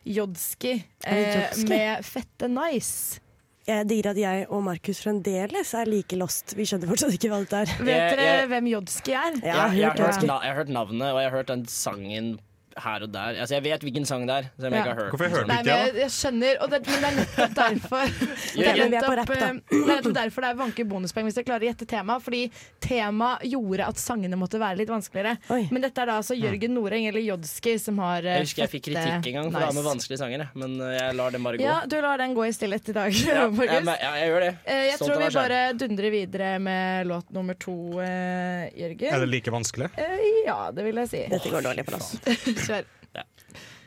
Jodski
Er det
eh,
Jodski?
med Fette Nice.
Jeg digger at jeg og Markus fremdeles er like lost. Vi skjønner fortsatt ikke hva dette er.
Vet
Jeg-
dere
jeg-
hvem Jodski er?
Jeg, jeg, har hørt, na- jeg har hørt navnet, og jeg har hørt den sangen her og der. Altså, jeg vet hvilken sang det er. Selv om jeg ikke har hørt den.
Nei, men jeg, jeg skjønner, og det, men det er nettopp derfor Det er
Jørgen, vi er
på
nettopp,
rapp, da.
eh, det er nettopp derfor det er vanke bonuspoeng hvis dere klarer å gjette temaet. Fordi temaet gjorde at sangene måtte være litt vanskeligere. Men dette er da altså Jørgen Noreng, eller Jodski, som har eh,
Jeg husker jeg fikk
Fette
kritikk en gang for å ha med
Nice.
vanskelige sanger, jeg. men eh, jeg lar den bare gå.
Ja, du lar den gå i stillhet i dag.
Ja, jeg,
Markus.
jeg, jeg gjør det.
Eh, Jeg
Stolt
tror
av
vi
meg selv.
bare dundrer videre med låt nummer to, eh, Jørgen.
Er det like vanskelig?
Eh, ja, det vil jeg si.
Dette går dårlig for
altså.
oss.
Kjør.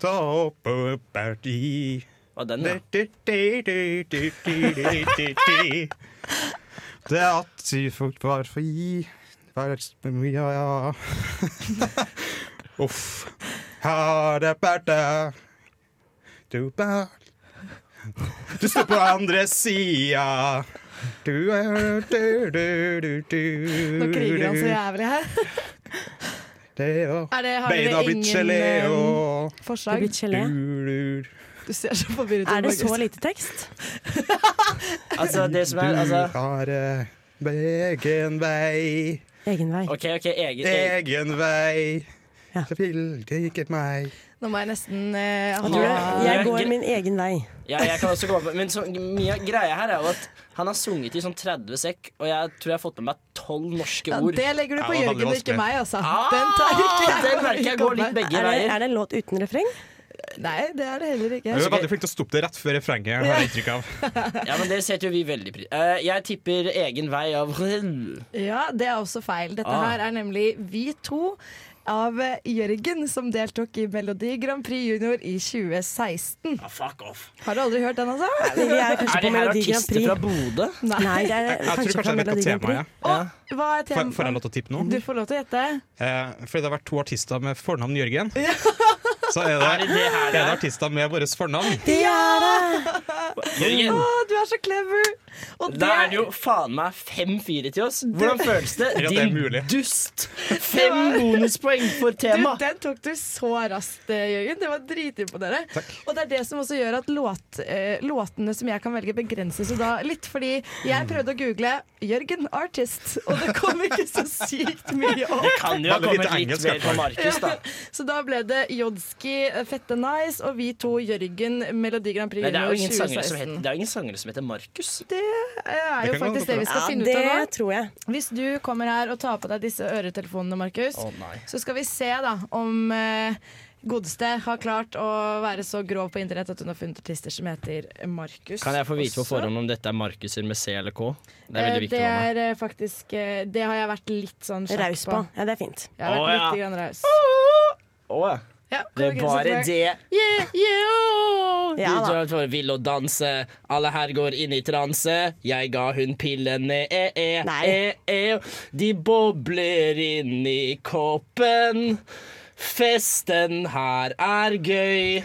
Ta opp og party.
Hva den,
da? Det at syfolk var for gi Var ja, ja. Uff. Ha det bæta. Du bæ... Du står på andre sida. Du er du, du, du, du.
Nå kriger han så jævlig her.
Det og
Er det- har
beina
dere
har blitt
ingen,
gelé
eh,
og
forslag? Det er blitt gelé.
Du, du,
Du ser så forvirret ut.
Er det så
Markus.
lite tekst?
Altså, det som er altså,
Du har eh, egen vei.
Egen vei.
OK, ok, egen,
Egen vei. Så vil det ikke meg.
Nå må jeg nesten eh,
Jeg, tror det. jeg
Jeg-
går min e- egen vei.
Ja, jeg kan også gå på Men så, mye av greia her er jo at han har sunget i sånn 30 sekk, og jeg tror jeg har fått med meg 12 norske
Ja,
ord.
det legger du på Ja, det var Jørgen, veldig ikke vanskelig. meg, altså. Den tar ikke
Ah,
jeg
den merker jeg går litt begge
er, det,
veier.
er det en låt uten refreng?
Nei, det er det heller
Du
ikke.
er veldig flink til å stoppe det rett før refrenget, har jeg inntrykk av.
Ja, men det setter jo vi veldig pris Eh, Jeg tipper egen vei av Nei,
Ja, det er også feil. Dette
Ah.
her er nemlig Vi to av eh, Jørgen, som deltok i Melodi Grand Prix Junior i 2016.
Ah, fuck off.
Har du aldri hørt den, altså?
vi er kanskje på Melodi Grand Prix.
Bodø?
Nei.
Nei, det er
Jeg tror kanskje jeg vet hva temaet er.
Å, hva er
Får
temaet?
får jeg lov til å tippe nå?
Du får lov til å gjette.
Eh, fordi det har vært to artister med fornavn Jørgen. Så er det,
Er det det her
er
det
det
er?
artister med våre fornavn.
Det er det!
Jørgen.
Å, du er så clever! Og
Da er det jo faen meg 5-4 til oss. Hvordan føles det?
Ja, det er
Din
mulig.
dust! Fem bonuspoeng for tema.
Du, den tok du så raskt, eh, Jørgen. Det var dritimponerende. Og det er det som også gjør at låt, eh, låtene som jeg kan velge, begrenses jo da litt. Fordi
Mm.
jeg prøvde å google 'Jørgen Artist', og det kom ikke så sykt mye opp.
Det kan jo ha kommet litt mer på Markus, da.
Ja, Så da ble det Jodski, eh, Fette Nice og vi to Jørgen, Melodi Grand Prix
Nei, det
Junior
er jo ingen sangere som
2016.
heter, det er jo ingen sangere som heter Markus.
Det er jo
Det kan gå
faktisk det vi skal
Ja,
finne ut av nå.
det tror jeg.
Hvis du kommer her og tar på deg disse øretelefonene, Markus,
Å, nei.
så skal vi se da om eh, Godeste har klart å være så grov på internett at hun har funnet artister som heter Markus.
Kan jeg få vite på
også.
forhånd om dette er Markuser med C eller K? Det er
Eh,
veldig viktig
det
for meg.
er eh, faktisk eh, Det har jeg vært litt sånn kjapp
Raus på. Ja, det er fint.
Jeg har
Å,
vært
ja.
litt grann raus.
Åh,
Ja,
det er
kongekrysset
bare
for-
det.
Yeah, yeah, oh.
Ja, du drar for vill å danse, alle her går inn i transe. Jeg ga hun pillene, e, e, e, e. De bobler inn i koppen. Festen her er gøy.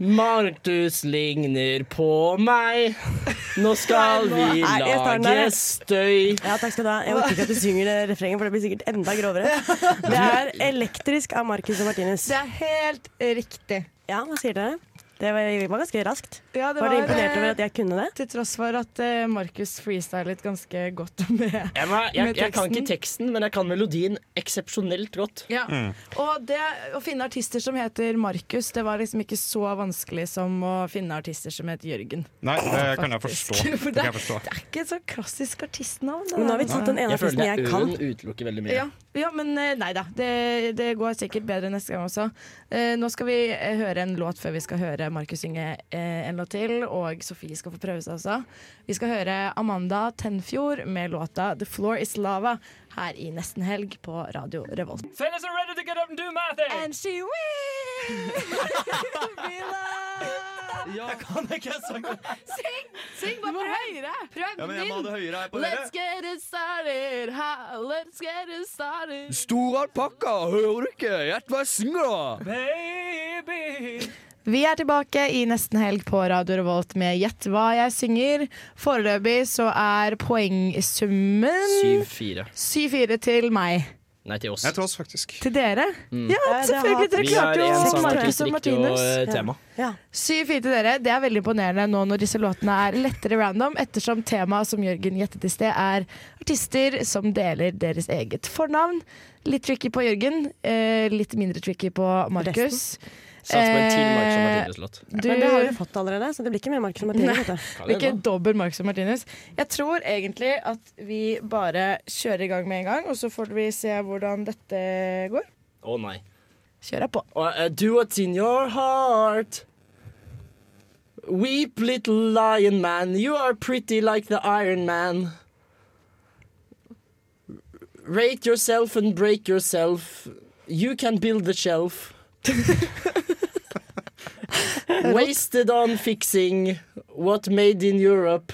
Martus ligner på meg. Nå skal vi
Nei, jeg tar den
lage
der.
støy.
Ja, takk skal du ha. Jeg orker ikke at du synger det refrenget, for det blir sikkert enda grovere. Det er 'Elektrisk' av Marcus og Martinus.
Det er helt riktig.
Ja, hva sier dere? Det var, det var ganske raskt.
Ja, det
var, du
var,
imponert
eh,
over at jeg kunne det?
Til tross for at eh, Markus freestylet ganske godt med,
Jeg, må, jeg,
med
jeg kan ikke teksten, men jeg kan melodien eksepsjonelt godt.
Ja.
Mm.
Og det å finne artister som heter Markus, det var liksom ikke så vanskelig som å finne artister som heter Jørgen.
Nei, det kan jeg
Faktisk.
forstå.
For
Det
det,
kan jeg forstå.
det er ikke et så klassisk artistnavn. det
Men nå har
der,
vi tatt den ene
Jeg
artisten
føler
jeg,
at
kan.
øen utelukker veldig mye.
Ja, ja, men eh, nei da. Det, det går sikkert bedre neste gang også. Eh, nå skal vi eh, høre en låt før vi skal høre Markus synge eh, en låt til. Og Sofie skal få prøve seg også. Vi skal høre Amanda Tenfjord med låta 'The Floor Is Lava' her i Nesten Helg på Radio Revolt.
Fellas are ready to get up and do my thing.
And she will be loved.
Jeg kan ikke synge.
Syng! Syng bare på høyre! Prøv
Ja, men jeg må ha det høyere her på høyre.
Let's get it started, ha, let's get it started.
Store alpakka, hører du ikke? Gjett hva jeg synger, da!
Baby.
Vi er tilbake i nesten helg på Radio Revolt med Gjett hva jeg synger. Foreløpig så er poengsummen
7-4.
7-4 til meg.
Nei, til oss.
Nei, til oss, faktisk.
Til dere?
Mm.
Ja,
Ja, det
selvfølgelig.
har-
Dere
Vi har
klarte
en
jo
sang
Markus og
riktig,
Martinus.
og, eh, tema.
Ja.
7-4 til dere. Det er veldig imponerende nå når disse låtene er lettere random, ettersom temaet som Jørgen gjettet i sted, er artister som deler deres eget fornavn. Litt tricky på Jørgen, eh, litt mindre tricky på Markus.
Satser på en til Marcus og
Eh,
Martinus-låt.
du-
Men det har du fått allerede, så det blir ikke mer Marcus og Martinus.
Nei,
vet du.
det blir ikke dobbel Marcus og Martinus. Jeg tror egentlig at vi bare kjører i gang med en gang, og så får vi se hvordan dette går.
Å nei.
Kjør jeg på.
eh, do what's in your heart. Weep, little lion man, you are pretty like the Iron Man. Rate yourself and break yourself. You can build the shelf. Wasted on fixing what made in Europe.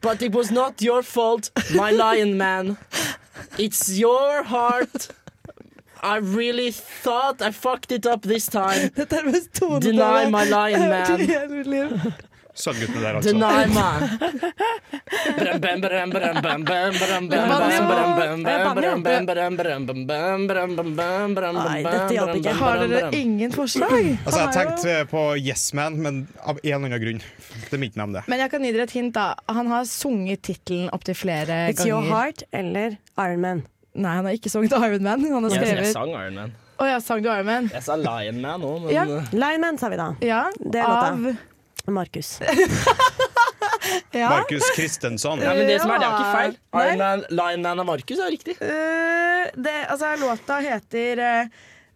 But it was not your fault, my lion man. It's your heart. I really thought I fucked it up this time.
Dette er mest
Deny my lion man.
man.
Sølvguttene der, altså.
Deny man. Bram, bam, bram, bram, bram, bram, bram, bram, bram, bram, bram, bram, bram, bram, bram, bram, bram, bram, bram, bram, bram,
Nei, dette hjalp
bram,
ikke.
bram,
Har
bram,
dere
bram.
ingen forslag?
Altså, jeg
Han er jo-
tenkte på Yes Man, men av en eller annen grunn. Det minte meg om det.
Men jeg kan gi dere et hint, da. Han har sunget tittelen opptil flere
It's
ganger.
Your Heart eller Iron Man.
Nei, han har ikke sunget Iron Man. Han har
Jeg-
skrevet
Jeg sang Iron Man.
Å ja, sang du Iron Man?
Jeg sa Lion Man òg, men eh, uh,
Ja. Lineman, sa vi da.
Ja,
Det er låta. Markus.
Ja.
Markus Kristensson.
Nei, men det som er, det er jo ikke feil.
Nei.
Iron Man, Lion Man og Markus er riktig.
Eh, det, altså, låta heter eh,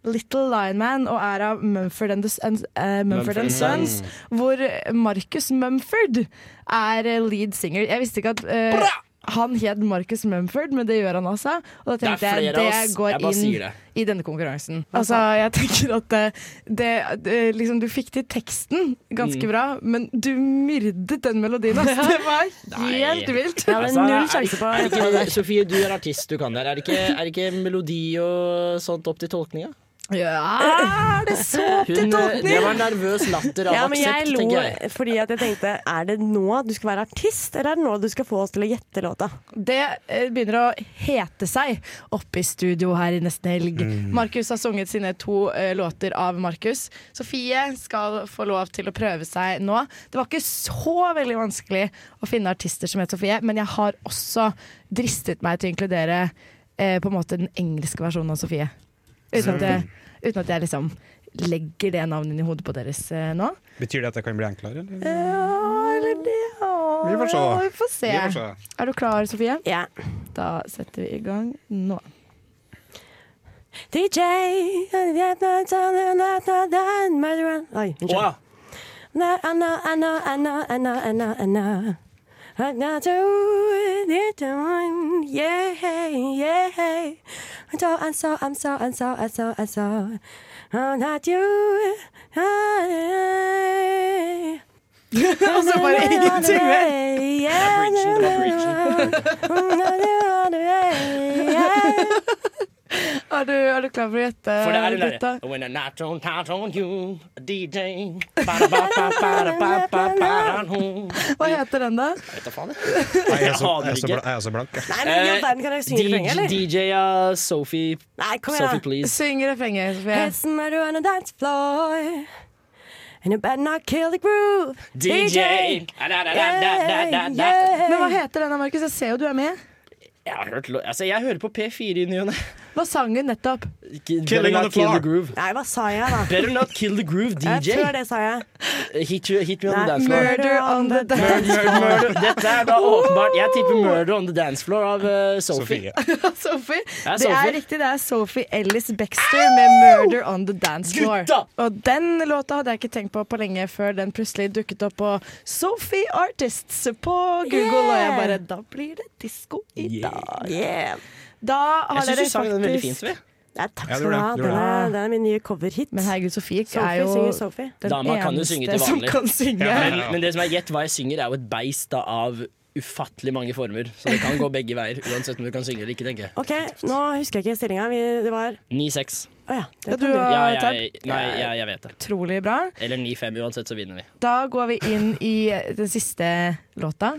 Little Lion Man og er av Mumford and, the, S- and, eh, Mumford
Mumford
and
and
Sons, hvor Marcus Mumford er eh, lead singer. Jeg visste ikke at eh, han het Marcus Mumford, men det gjør han også. Og da
Det er
tenkte jeg
flere av oss.
det går
Jeg bare
inn
sier det.
i denne konkurransen. Altså, jeg tenker at eh, det, det- liksom, Du fikk til teksten ganske
Mm.
bra, men du myrdet den melodien. Altså. Det var helt vilt.
Altså, er- er det ikke- Sofie, du er artist, du kan det her. Er det ikke, er det ikke melodi og sånt opp til tolkninga?
Ja, det er så opp til
Hun, eh,
tolkning!
det var nervøs latter av
Ja, men jeg
aksept,
lo
tenker jeg.
fordi at jeg tenkte Er det nå du skal være artist, eller er det nå du skal få oss til å gjette låta?
Det eh, begynner å hete seg oppe i studio her i nesten helg. Markus har sunget sine to eh, låter av Markus. Sofie skal få lov til å prøve seg nå. Det var ikke så veldig vanskelig å finne artister som het Sofie, men jeg har også dristet meg til å inkludere eh, på en måte den engelske versjonen av Sofie. Uten at jeg, uten at jeg liksom legger det navnet inn i hodet på deres eh, nå.
Betyr det at det kan bli enklere? Eller?
Ja, eller det ja.
Vi får se.
Ja, Vi får se.
Vi får se.
Er du klar, Sofie?
Ja.
Da setter vi i gang nå.
DJ Oi, unnskyld. Na, Anna, Anna, Anna, Anna, Anna, Anna. I got to do it done. Yeah, yeah. I'm so, I'm so, I'm so, I'm so, I'm so, I'm so. I'm not you. I-
Og så bare ingenting mer.
Yeah, yeah.
Er du, er du klar for å gjette?
For det er hun
gutta?
derre When a night on night on you, a DJ ba, ba, ba, ba, ba, ba, ba, hun.
Hva heter den, da?
Vet da faen, jeg.
Nei, jeg er så,
aner
jeg er så,
ikke.
bla- jeg er så blank. jeg.
Nei, men i all verden, kan jeg synge
DJ
refrenget, eller?
DJ av Sophie
Nei, kom igjen,
Sophie,
da.
please.
Syng refrenget, Sofie.
It's murder on the dance floor. And you better not kill the groove.
DJ. Da, da, da, da, da, da, da.
Men hva heter den, da, Markus? Jeg ser jo du er med.
Jeg har hørt lå- Altså, jeg hører på P4 i ny og ne.
Hva sang hun nettopp?
Better not kill the groove.
Nei, hva sa jeg, da?
Better not kill the groove,
Jeg
DJ.
tror det sa jeg.
Hit, you- hit me on the
Nei,
dance floor.
murder on the
Murder,
dance
murder,
floor.
murder. Dette er da åpenbart Jeg tipper 'Murder on the dance floor' av eh, Sophie.
Sophie.
er
Det
Sophie.
er riktig. Det er Sophie Ellis Baxter med 'Murder on the Dance Floor'.
Gutta!
Og den låta hadde jeg ikke tenkt på på lenge før den plutselig dukket opp på Sophie Artists på Google, og jeg
Yeah!
bare Da blir det disko i dag.
Yeah.
Da har
Jeg syns
dere
du sang den veldig fint,
faktisk
Sofie.
Nei, takk
Ja,
skal du
det gjorde
ha.
jeg,
Den
det gjorde
er,
jeg.
den er min nye coverhit.
Men herregud, Sofie
Sophie
er jo
synger Sophie.
den
Dama kan jo
eneste
synge til
som
vanlig.
kan synge.
Men, men det som er gjett hva jeg synger, er jo et beist da, av ufattelig mange former. Så det kan gå begge veier, uansett om du kan synge eller ikke, tenker jeg.
OK, nå husker jeg ikke stillinga. Det var
9-6.
Å ja.
Ja,
Det
du har
Ja,
tatt.
jeg, nei, jeg, jeg vet det.
Utrolig bra.
Eller 9-5, uansett så vinner vi.
Da går vi inn i den siste låta.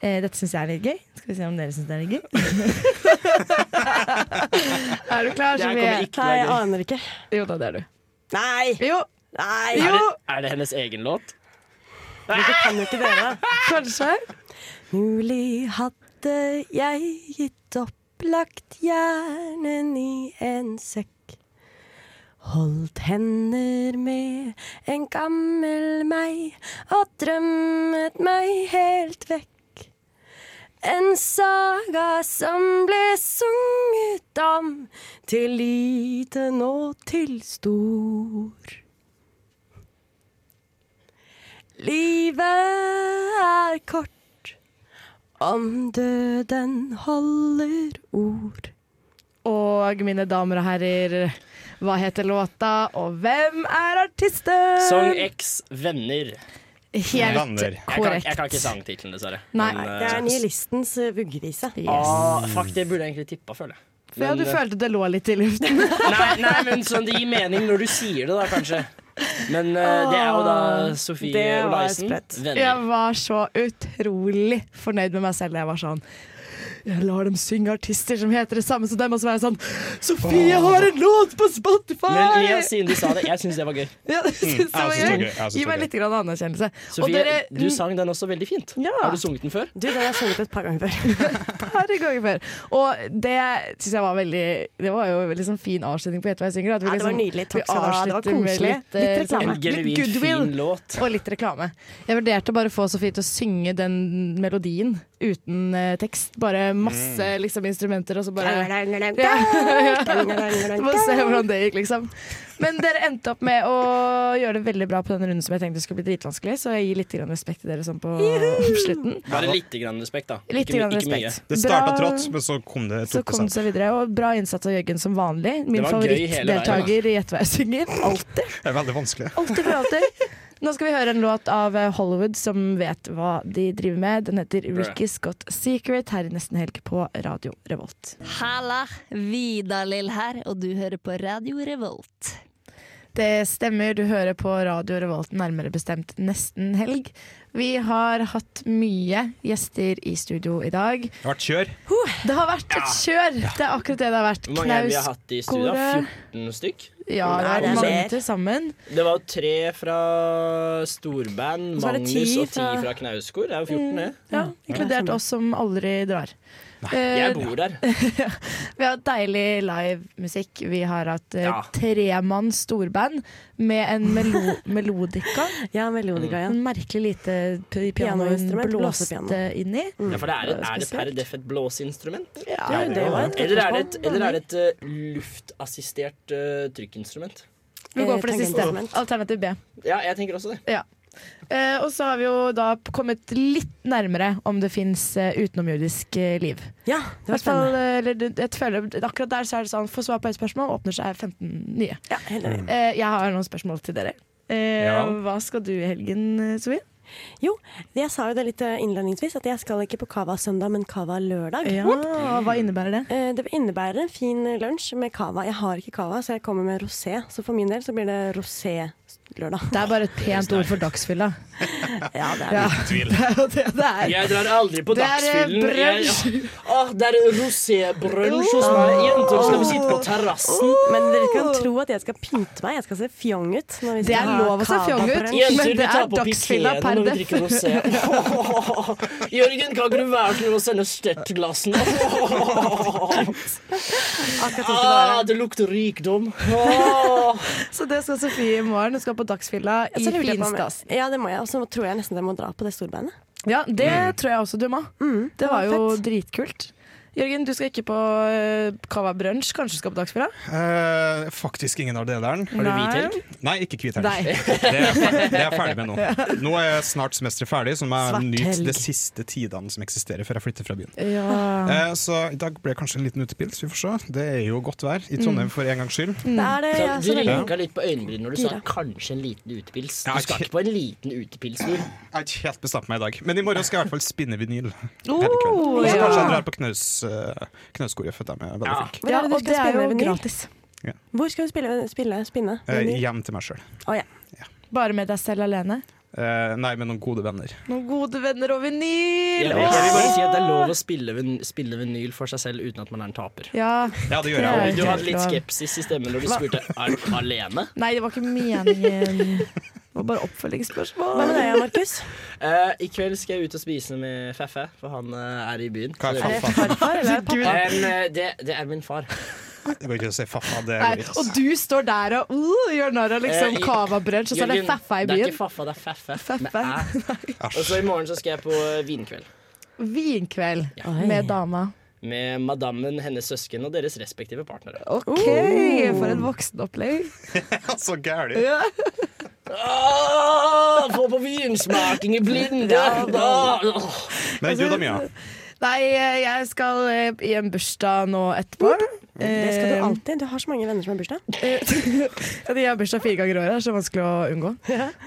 Eh, dette syns jeg er litt gøy. Skal vi se om dere syns det er litt gøy. er du klar,
Det her
Sofie?
kommer ikke til å
Nei,
være
jeg
gøy.
aner ikke.
Jo da, det er du.
Nei!
Jo.
Nei!
Er det,
Jo.
er det hennes egen låt?
Dette kan jo ikke dere.
Kanskje.
Mulig hadde jeg gitt opp, lagt hjernen i en sekk. Holdt hender med en gammel meg og drømmet meg helt vekk. En saga som ble sunget om til liten og til stor. Livet er kort. Om døden holder ord.
Og mine damer og herrer, hva heter låta, og hvem er artisten?
Song X Venner.
Eh, Helt
Jeg kan,
korrekt.
jeg kan ikke sangtittelen, dessverre.
Nei.
eh,
Det er nihilistens eh, vuggevise.
ah, fuck, det burde jeg egentlig tippa, føler jeg.
Ja, du
Men, eh,
følte det lå litt i luften.
nei, nei, men sånn, det gir mening når du sier det, da, kanskje. Men eh, det er jo da
Åh,
Sofie
det var
Olaisen.
sprøtt.
Venner.
Jeg var så utrolig fornøyd med meg selv. Jeg var sånn Jeg lar dem synge artister som heter det samme som dem, og så var jeg sånn Sofie
Åh.
har en låt på Spotify!
Men Lia, siden du sa det, jeg syns det var gøy.
Ja, det
Mm,
synes
jeg
jeg var
synes det var
gøy.
gøy. Jeg synes
Gi
det var
meg
gøy.
litt grann anerkjennelse. mm.
Sofie, du sang den også veldig fint.
Ja.
Har du sunget den før?
Du, den har jeg sunget et par ganger før.
par ganger før. Og det syns jeg var veldig Det var jo veldig sånn fin avslutning på Gjett hva jeg synger. At vi liksom-
Ja, det var nydelig. Takk
vi
skal du ha. Det var
avslutter med
koselig.
eh,
Litt reklame.
sånn
En genuint
litt goodwill
fin låt.
Og litt reklame. Jeg vurderte bare å få Sofie til å synge den melodien uten eh, tekst. Bare masse
Mm.
liksom, instrumenter, og så bare ja. Ja. Så Må se hvordan det gikk, liksom. Men dere endte opp med å gjøre det veldig bra på den runden som jeg tenkte skulle bli dritvanskelig, så jeg gir litt grann respekt til dere sånn på slutten.
Bare lite grann respekt, da.
Litt
Ikke my-
grann
ikke mye.
respekt.
Det starta
Bra.
trått, men så kom det,
Så
tok
kom
det
det
seg.
seg videre, og bra innsats av Jørgen som vanlig. Min
Det var gøy hele veien, da.
favorittdeltaker i Gjett hva jeg synger. Alltid.
Det er veldig vanskelig.
alltid for alltid. Nå skal vi høre en låt av eh, Hollywood som vet hva de driver med. Den heter
Bra.
Ricky's Got Secret her i Nesten Helg på Radio Revolt.
Halla, Vidar-Lill her, og du hører på Radio Revolt.
Det stemmer, du hører på Radio Revolt, nærmere bestemt nesten helg. Vi har hatt mye gjester i studio i dag.
Det har vært kjør.
Det har vært et kjør! Det er akkurat det det har vært.
Hvor mange er det vi har hatt i studio?
Knausgårde.
14 stykk?
Ja, det er mange til sammen.
Det var jo tre fra storband,
Og så er det
Magnus,
ti
og ti
fra- Mm,
fra Knausgård. Det er jo 14, det.
Ja, inkludert oss som aldri drar.
Jeg bor der.
Vi har hatt deilig livemusikk. Vi har hatt eh,
Ja.
tremanns storband med en melo melodika. Mm.
ja, melodika, ja.
En merkelig lite pi- piano hun
Pianoinstrument, Mm.
blåste
blåsepiano.
inn i.
Ja, for det er,
var
et, er det per
Mm. spesielt.
deff et blåseinstrument? eller?
Ja, det var et
eller er det et,
spørsmål.
eller er det et eh, luftassistert eh, trykkinstrument?
Vi går Eh,
Eh,
for det siste. Alternativ B.
Ja, jeg tenker også det.
Ja. Eh, og så har vi jo da p- kommet litt nærmere om det fins eh, utenomjordisk eh, liv.
Ja, det var spennende.
eh, eller, du- jeg føler, akkurat der så er det sånn få svar på ett spørsmål, åpner seg 15 nye.
enig.
Eh, jeg har noen spørsmål til dere. Eh,
Ja.
Hva skal du i helgen, eh, Sofie?
Jo, jeg sa jo det litt eh, innledningsvis, at jeg skal ikke på Cava søndag, men Cava lørdag. Eh,
Ja, hva innebærer det?
Det innebærer en fin eh, lunsj med Cava. Jeg har ikke Cava, så jeg kommer med rosé. Så for min del så blir det rosé-lørdag.
Det er bare et pent ord for dagsfylla.
ja, det er
Ja.
det.
Det er jo det det er.
Jeg drar aldri på
Det er, eh,
dagsfyllen. Jeg-
brunch.
Åh, Ah, det er rosébrunsj hos meg. Jenter, skal vi sitte på terrassen?
Men dere kan tro at jeg skal pynte meg. Jeg skal se fjong ut. når vi
Det
skal
er
ha
lov å se
Cava
fjong ut,
på lunsj.
men
Jenter,
det
vi
er
tar på
dagsfylla
pikéene
per
når vi
def.
drikker rosé. Jørgen, kan ikke du være så snill å sende stertglassene? Ah, det lukter rikdom.
Så det skal Sofie i morgen. Hun skal på Dagsfylla
Ja,
i
så lurer jeg på om-
finstas.
Ja, det må jeg. Og så tror jeg nesten jeg må dra på det storbandet.
Ja, det
Mm.
tror jeg også du må. Mm, det var jo dritkult. Jørgen, du skal ikke på eh, Cava Brunch. Kanskje du skal på Dagsfylla?
Eh, faktisk ingen av deleren.
Har du hvit helg?
Nei, ikke hvit
Nei.
helg. Det, er jeg fer- det er jeg ferdig med nå. Nå er snart semesteret ferdig, så må
Svart
jeg nyte
helg.
de siste tidene som eksisterer før jeg flytter fra byen.
Ja.
Eh, så i dag ble det kanskje en liten utepils, vi får se. Det er jo godt vær i
Mm.
Trondheim for en gangs skyld.
Så du rynka litt på øyenbrynene når du sa kanskje en liten utepils. Du
Ja,
skal
ok.
ikke på en liten utepilstur.
Jeg har ikke helt bestemt meg i dag, men i morgen skal jeg i hvert fall spinne vinyl.
Oh,
Hele kvelden. Og så
ja.
kanskje jeg drar på knaus, eh, knauskoret, for de er veldig flinke.
Hvor er det du
og
skal
det er
spille
jo
vinyl?
gratis.
Ja.
Hvor skal du spille? spille spinne?
Eh, hjem til meg sjøl.
Å, ja.
Bare med deg selv alene.
Eh, nei, med noen gode venner.
Noen gode venner og vinyl!
Jeg vil, jeg vil bare si at det er lov å spille, vin- spille vinyl for seg selv uten at man er en taper.
Ja.
Ja, det
gjør jeg også.
Du hadde litt
Klart.
skepsis i stemmen når du
Hva?
spurte er du alene.
Nei, det var ikke meningen. Det var bare oppfølgingsspørsmål.
Hva med deg, Markus?
Eh, I kveld skal jeg ut og spise med Feffe, for han eh, er i byen.
Hva er
Så det-
Faffa? Er det farfar, eller er det pappa?
En, eh, det, det er min far.
Det går ikke å si faffa. Det
Nei,
går ikke.
og du står der og uh, gjør narr av liksom
Eh, i-
Cava Brunch, og så er det
Jørgen,
Faffa i
Det er
byen.
ikke Faffa, det er Feffe. med
Feffe.
æ. Og så i morgen så skal jeg på eh, vinkveld.
Vinkveld med dama.
Med madammen, hennes søsken og deres respektive partnere.
OK, for et voksenopplegg.
så gæli.
Uh. Ja.
Ah, få på vinsmaking i blinde!
Ja, da.
Ah,
Men du da, Mia?
Nei, jeg skal eh, i en bursdag nå etterpå. Eh,
Det skal du alltid. Du har så mange venner som har bursdag.
Ja, de har bursdag fire ganger i året, så det er vanskelig å unngå.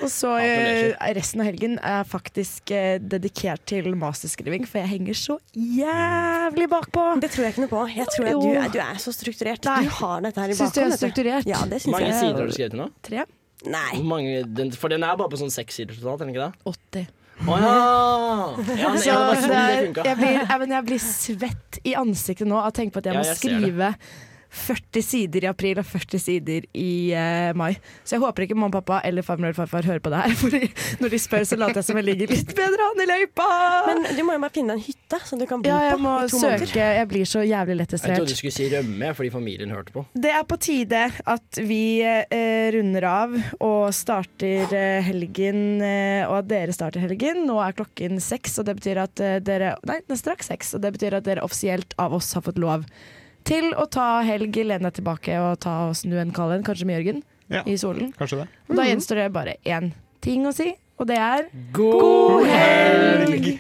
Og så eh, Resten av helgen er faktisk eh, dedikert til masterskriving, for jeg henger så jævlig bakpå.
Det tror jeg ikke noe på. Jeg tror at du, er, du er så strukturert. Du har dette her i
Syns
bakhånd.
du jeg er
vet du.
strukturert?
Ja, det syns
Mange
jeg.
sider har du skrevet nå?
Tre.
Nei.
Hvor mange, den, for den er bare på sånn seks sider totalt, er den ikke det?
80.
Å
哦
ja!
哎
ja, men-
Så
ja det var
det
sånn
er,
det funka.
jeg, blir, jeg, men jeg blir svett i ansiktet nå av å tenke på at jeg
Ja,
må
jeg ser
skrive 40 sider i april og 40 sider i eh, mai. Så jeg håper ikke mamma og pappa eller farmor eller farfar hører på det her. For når de spør, så later jeg som jeg ligger litt bedre an i løypa.
Men du må jo bare finne deg en hytte som du kan bo
Ja, jeg
på
må
i to
søke.
måneder.
Jeg blir så jævlig
Jeg trodde du
lettestrert.
skulle si rømme fordi familien hørte på.
Det er på tide at vi eh, runder av og starter eh, helgen, eh, og at dere starter helgen. Nå er klokken seks, og det betyr at eh, dere Nei, det er straks seks, og det betyr at dere offisielt av oss har fått lov til å ta helg, lene deg tilbake og ta og snu en kald en, kanskje med Jørgen, i solen.
Kanskje det.
Mm. Og da gjenstår det bare én ting å si, og det er
God
helg!